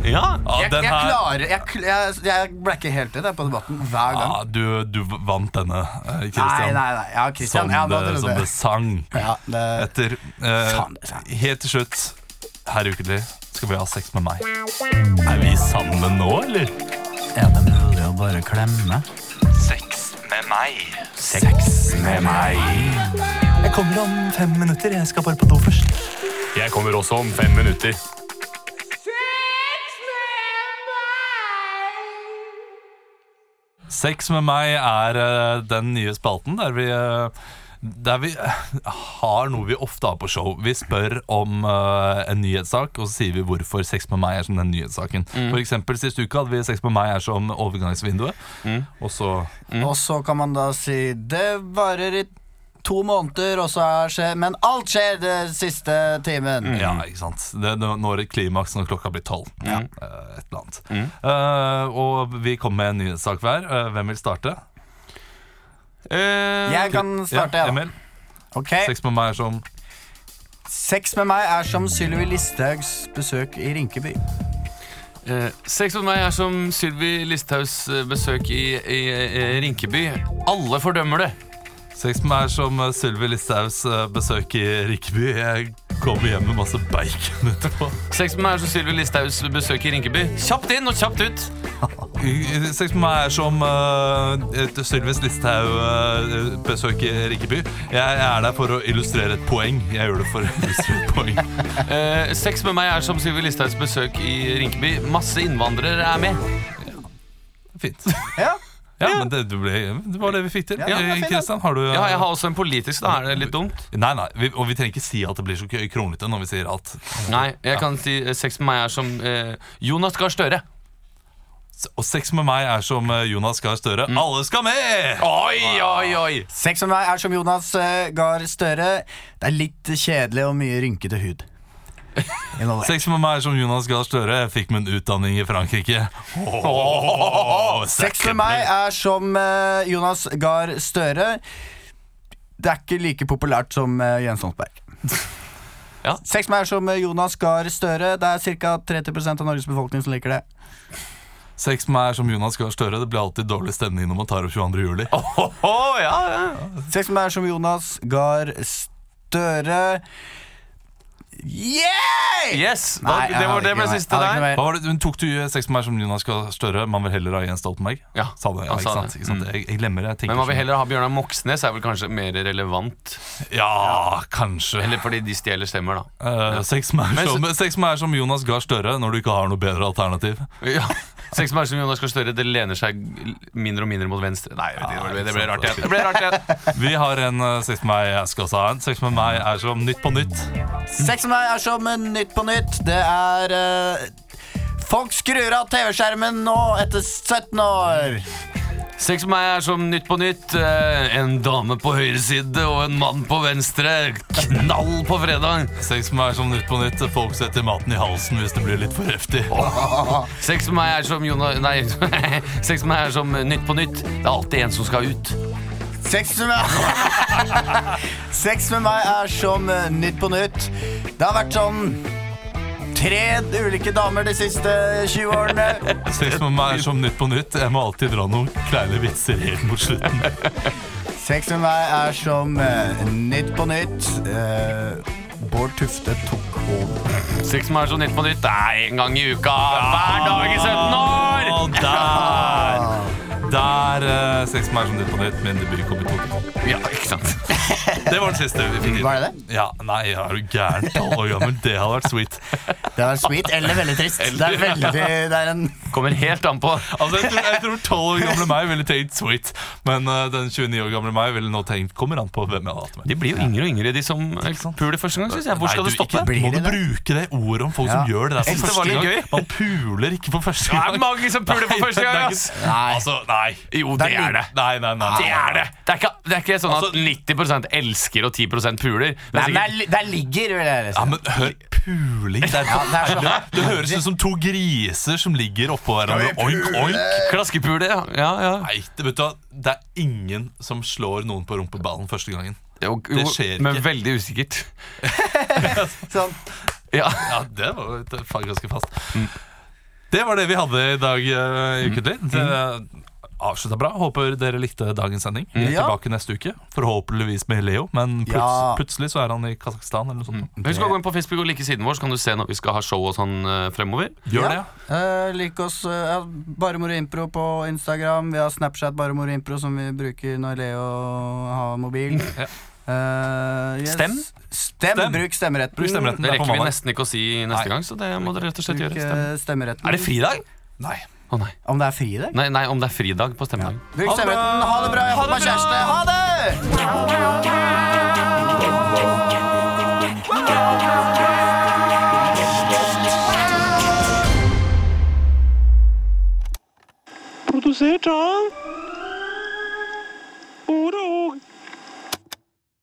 A: Ja,
B: Jeg,
A: den
B: jeg
A: her
B: klarer Jeg, kl- jeg, jeg ble ikke helt til det på debatten hver gang.
A: ja, du, du vant denne, eh,
B: Nei,
A: Ah, Christian.
B: nei, nei. Ja, Christian.
A: som,
B: Ja, nå
A: det,
B: trodde
A: som
B: jeg.
A: det sang
B: Ja, det,
A: etter. Eh,
B: Faen, det sang.
A: helt til slutt, her i Ukentlig, skal vi ha sex med meg. Er vi sammen nå, eller?
B: er det mulig å bare klemme?
A: Sex med meg. Sex med meg. Jeg kommer om fem minutter. Jeg skal bare på do først.
C: Jeg kommer også om fem minutter.
A: Sex med meg er eh, den nye spalten der vi eh, der vi eh, har noe vi ofte har på show. Vi spør om eh, en nyhetssak, og så sier vi hvorfor sex med meg er som den nyhetssaken.
B: Mm.
A: For eksempel sist uke hadde vi sex med meg er som overgangsvinduet.
B: Mm.
A: Og så
B: Og så kan man da si Det varer i to måneder, og så er skje, men alt skjer den siste timen.
A: Ja, ikke sant. Det, det når et klimaks når klokka blir tolv.
B: Mm.
A: Eh, et eller annet. Eh, og vi kommer med en nyhetssak hver. Eh, hvem vil starte?
B: Jeg kan starte,
A: ja,
B: jeg, da.
A: Emil.
B: Ok,
A: Sex med meg er som
B: Sex med meg er som Sylvi Listhaugs besøk i Rinkeby.
C: Eh, sex med meg er som Sylvi Listhaugs eh, besøk i, i, eh, Rinkeby. Alle fordømmer det.
A: Sex med meg er som eh, Sylvi Listhaugs eh, besøk i Rikkeby. Jeg kommer hjem med masse bacon etterpå.
C: Sex med meg er som Sylvi Listhaugs besøk i Rinkeby. Kjapt inn og kjapt ut.
A: Sex med meg er som eh, et Sylvis Listhaug-besøk i Rikkeby. Jeg er der for å illustrere et poeng. Jeg gjør det for å illustrere et poeng.
C: Eh, sex med meg er som Sylvi Listhaugs besøk i Rinkeby. Masse innvandrere er med.
A: Fint.
B: Ja.
A: Ja, men det, du ble, det var det vi fikk til.
B: Ja, det var fint, da.
A: Kristian, har du eh,
C: Ja, jeg har også en politisk, da. Er det litt dumt?
A: Nei, nei, vi, og vi trenger ikke si at det blir så k- kronglete når vi sier alt.
C: Nei, jeg kan si eh, sex med meg er som eh, Jonas Gahr Støre.
A: S- Og sex med meg er som eh, Jonas Gahr Støre.
C: Mm.
A: Alle skal med!
C: Oi, oi, oi!
B: Sex med meg er som Jonas eh, Gahr Støre. Det er litt kjedelig og mye rynkete hud. Involvert.
A: Sex med meg er som Jonas Gahr Støre. Jeg fikk min utdanning i Frankrike. Åh,
B: Sex med meg er som eh, Jonas Gahr Støre. Det er ikke like populært som eh, Jens Stoltenberg.
C: Ja.
B: Sex med meg er som eh, Jonas Gahr Støre. Det er ca. 30 av Norges befolkning som liker det.
A: Sex med meg er som Jonas Gahr Støre. Det blir alltid dårlig stemning når man tar opp 22. juli.
C: Åh, ja, ja.
B: Sex med meg er som Jonas Gahr Støre. Yeah!
C: Yes! Da,
B: Nei, jeg
C: det
B: har
C: var det
B: ikke
C: med
B: noe-
C: siste
B: jeg har ikke
C: der.
B: noe
A: Hva var det? Hun tok du eh, sex med meg som Jonas Gahr Støre? Man vil heller ha Jens Stoltenberg?
C: Ja,
A: Sa det, ja,
C: han
A: ikke
C: sa
A: sant?
C: det. Mm.
A: Ikke sant? Jeg, jeg glemmer det. Jeg tenker
C: Men man vil
A: så mye.
C: heller ha Bjørnar Moxnes, er vel kanskje mer relevant.
A: Ja, kanskje.
C: Eller fordi de stjeler stemmer, da.
A: Eh, sex, med
C: Men
A: meg
C: så-
A: er som, sex med meg er som Jonas Gahr Støre når du ikke har noe bedre alternativ.
C: Ja. Sex med meg som Jonas Gahr Støre, det lener seg mindre og mindre mot venstre. Nei, jeg vet ikke, det ble- det ble rart igjen. Det ble rart igjen.
A: Vi har en eh, sex med meg jeg skal også ha en. Sex med meg er som Nytt på nytt.
B: Sex med meg er som eh, Nytt på nytt. Det er eh, Folk skrur av TV-skjermen nå etter 17 år.
C: Sex med meg er som Nytt på Nytt. eh, En dame på høyre side og en mann på venstre. Knall på fredag.
A: Sex med meg er som Nytt på nytt. Folk setter maten i halsen hvis det blir litt for heftig.
C: Sex med meg er som Jonas Nei, sex med meg er som Nytt på Nytt. Det er alltid en som skal ut.
B: Sex med meg Sex med meg er som eh, Nytt på nytt. Det har vært sånn tre ulike damer de siste 20 årene.
A: Sex med meg er som Nytt på nytt. Jeg må alltid dra noen kleine vitser helt mot slutten.
B: Sex med meg er som eh, Nytt på nytt. Eh, Bård Tufte tok over.
C: Sex med meg er som Nytt på Nytt. Det er en gang i uka. Hver dag i 17 år!
A: Og der der eh, Seks meg som nytt på nytt, min debut kom i 2000.
C: Ja, ikke sant?
A: Det var den siste vi fikk inn.
B: Var det det?
A: Ja, nei, er du gæren? Tolv år gammel, det hadde vært sweet.
B: Det er sweet eller veldig trist. Det er veldig Det er en
C: Kommer helt an på.
A: Altså, Jeg tror- jeg tror tolv år gamle meg ville tenkt sweet, men eh, den 29 år gamle meg ville nå tenkt kommer an på hvem jeg hadde hatt med.
C: De blir jo yngre og yngre, de som puler første gang. Synes jeg. Hvor skal
A: Nei,
C: det
A: du,
C: stoppe?
A: Ikke,
B: Blir
A: må du
B: det det?
A: bruke det ordet om folk som
B: Ja.
A: gjør det der for
C: Jeg synes det var
A: første
C: litt
A: gang?
C: gøy.
A: Man puler ikke for første
C: Det
A: gang.
C: er mange som puler for første gang!
A: Nei,
C: ass
A: det er ikke- Altså, nei.
C: Jo, det er det.
A: Nei, nei, nei.
C: Det er det! Det er ikke, det er ikke sånn at
A: Altså-
C: 90 elsker og 10 puler. Det er
B: Nei, men
C: sikkert,
B: der, li- der ligger, vil jeg
A: Ja,
B: si.
A: men hør, puling Det, er,
B: Ja, det er så
A: det, det høres ut som to griser som ligger oppå hverandre. Oink, oink.
C: Klaskepule, ja. ja, ja.
A: Nei, det, vet du, hva, det er ingen som slår noen på rumpeballen første gangen.
C: Jo,
A: Det skjer
C: Men
A: ikke.
C: veldig usikkert.
B: Sånn.
C: Ja.
A: Ja, det var jo et- faen ganske fast. Det var det vi hadde i dag, eh,
C: Mm.
A: ukentlig. Dere avslutta bra. Håper dere likte dagens sending. Vi er
B: Ja.
A: tilbake neste uke, forhåpentligvis med Leo. Men pluts
B: Ja.
A: plutselig så er han i Kasakhstan eller noe sånt.
C: Husk å gå inn på Facebook og like siden vår, så kan du se når vi skal ha show og sånn eh, fremover.
A: Gjør det, ja.
B: Eh, lik oss eh, ja, Bare Moro Impro på Instagram. Vi har Snapchat Bare Moro Impro, som vi bruker når Leo har mobil.
A: Ja.
B: Eh, yes.
C: Stem?
B: Stem.
A: Stem.
B: Bruk stemmeretten.
A: Bruk stemmeretten.
C: Det
A: Det er på
C: Mm. rekker vi
A: mandag.
C: nesten ikke å si neste
A: Nei.
C: gang, så det må dere rett og slett
B: Bruk
C: gjøre. Stem.
B: eh, stemmeretten.
A: fridag? Nei.
C: Å nei.
B: Om det er fridag?
C: nei. Nei, om det er fridag på stemmedag.
B: Bruk stemmeretten. Ha det bra. Jeg håper meg kjæreste. Ha det!
H: Produsert av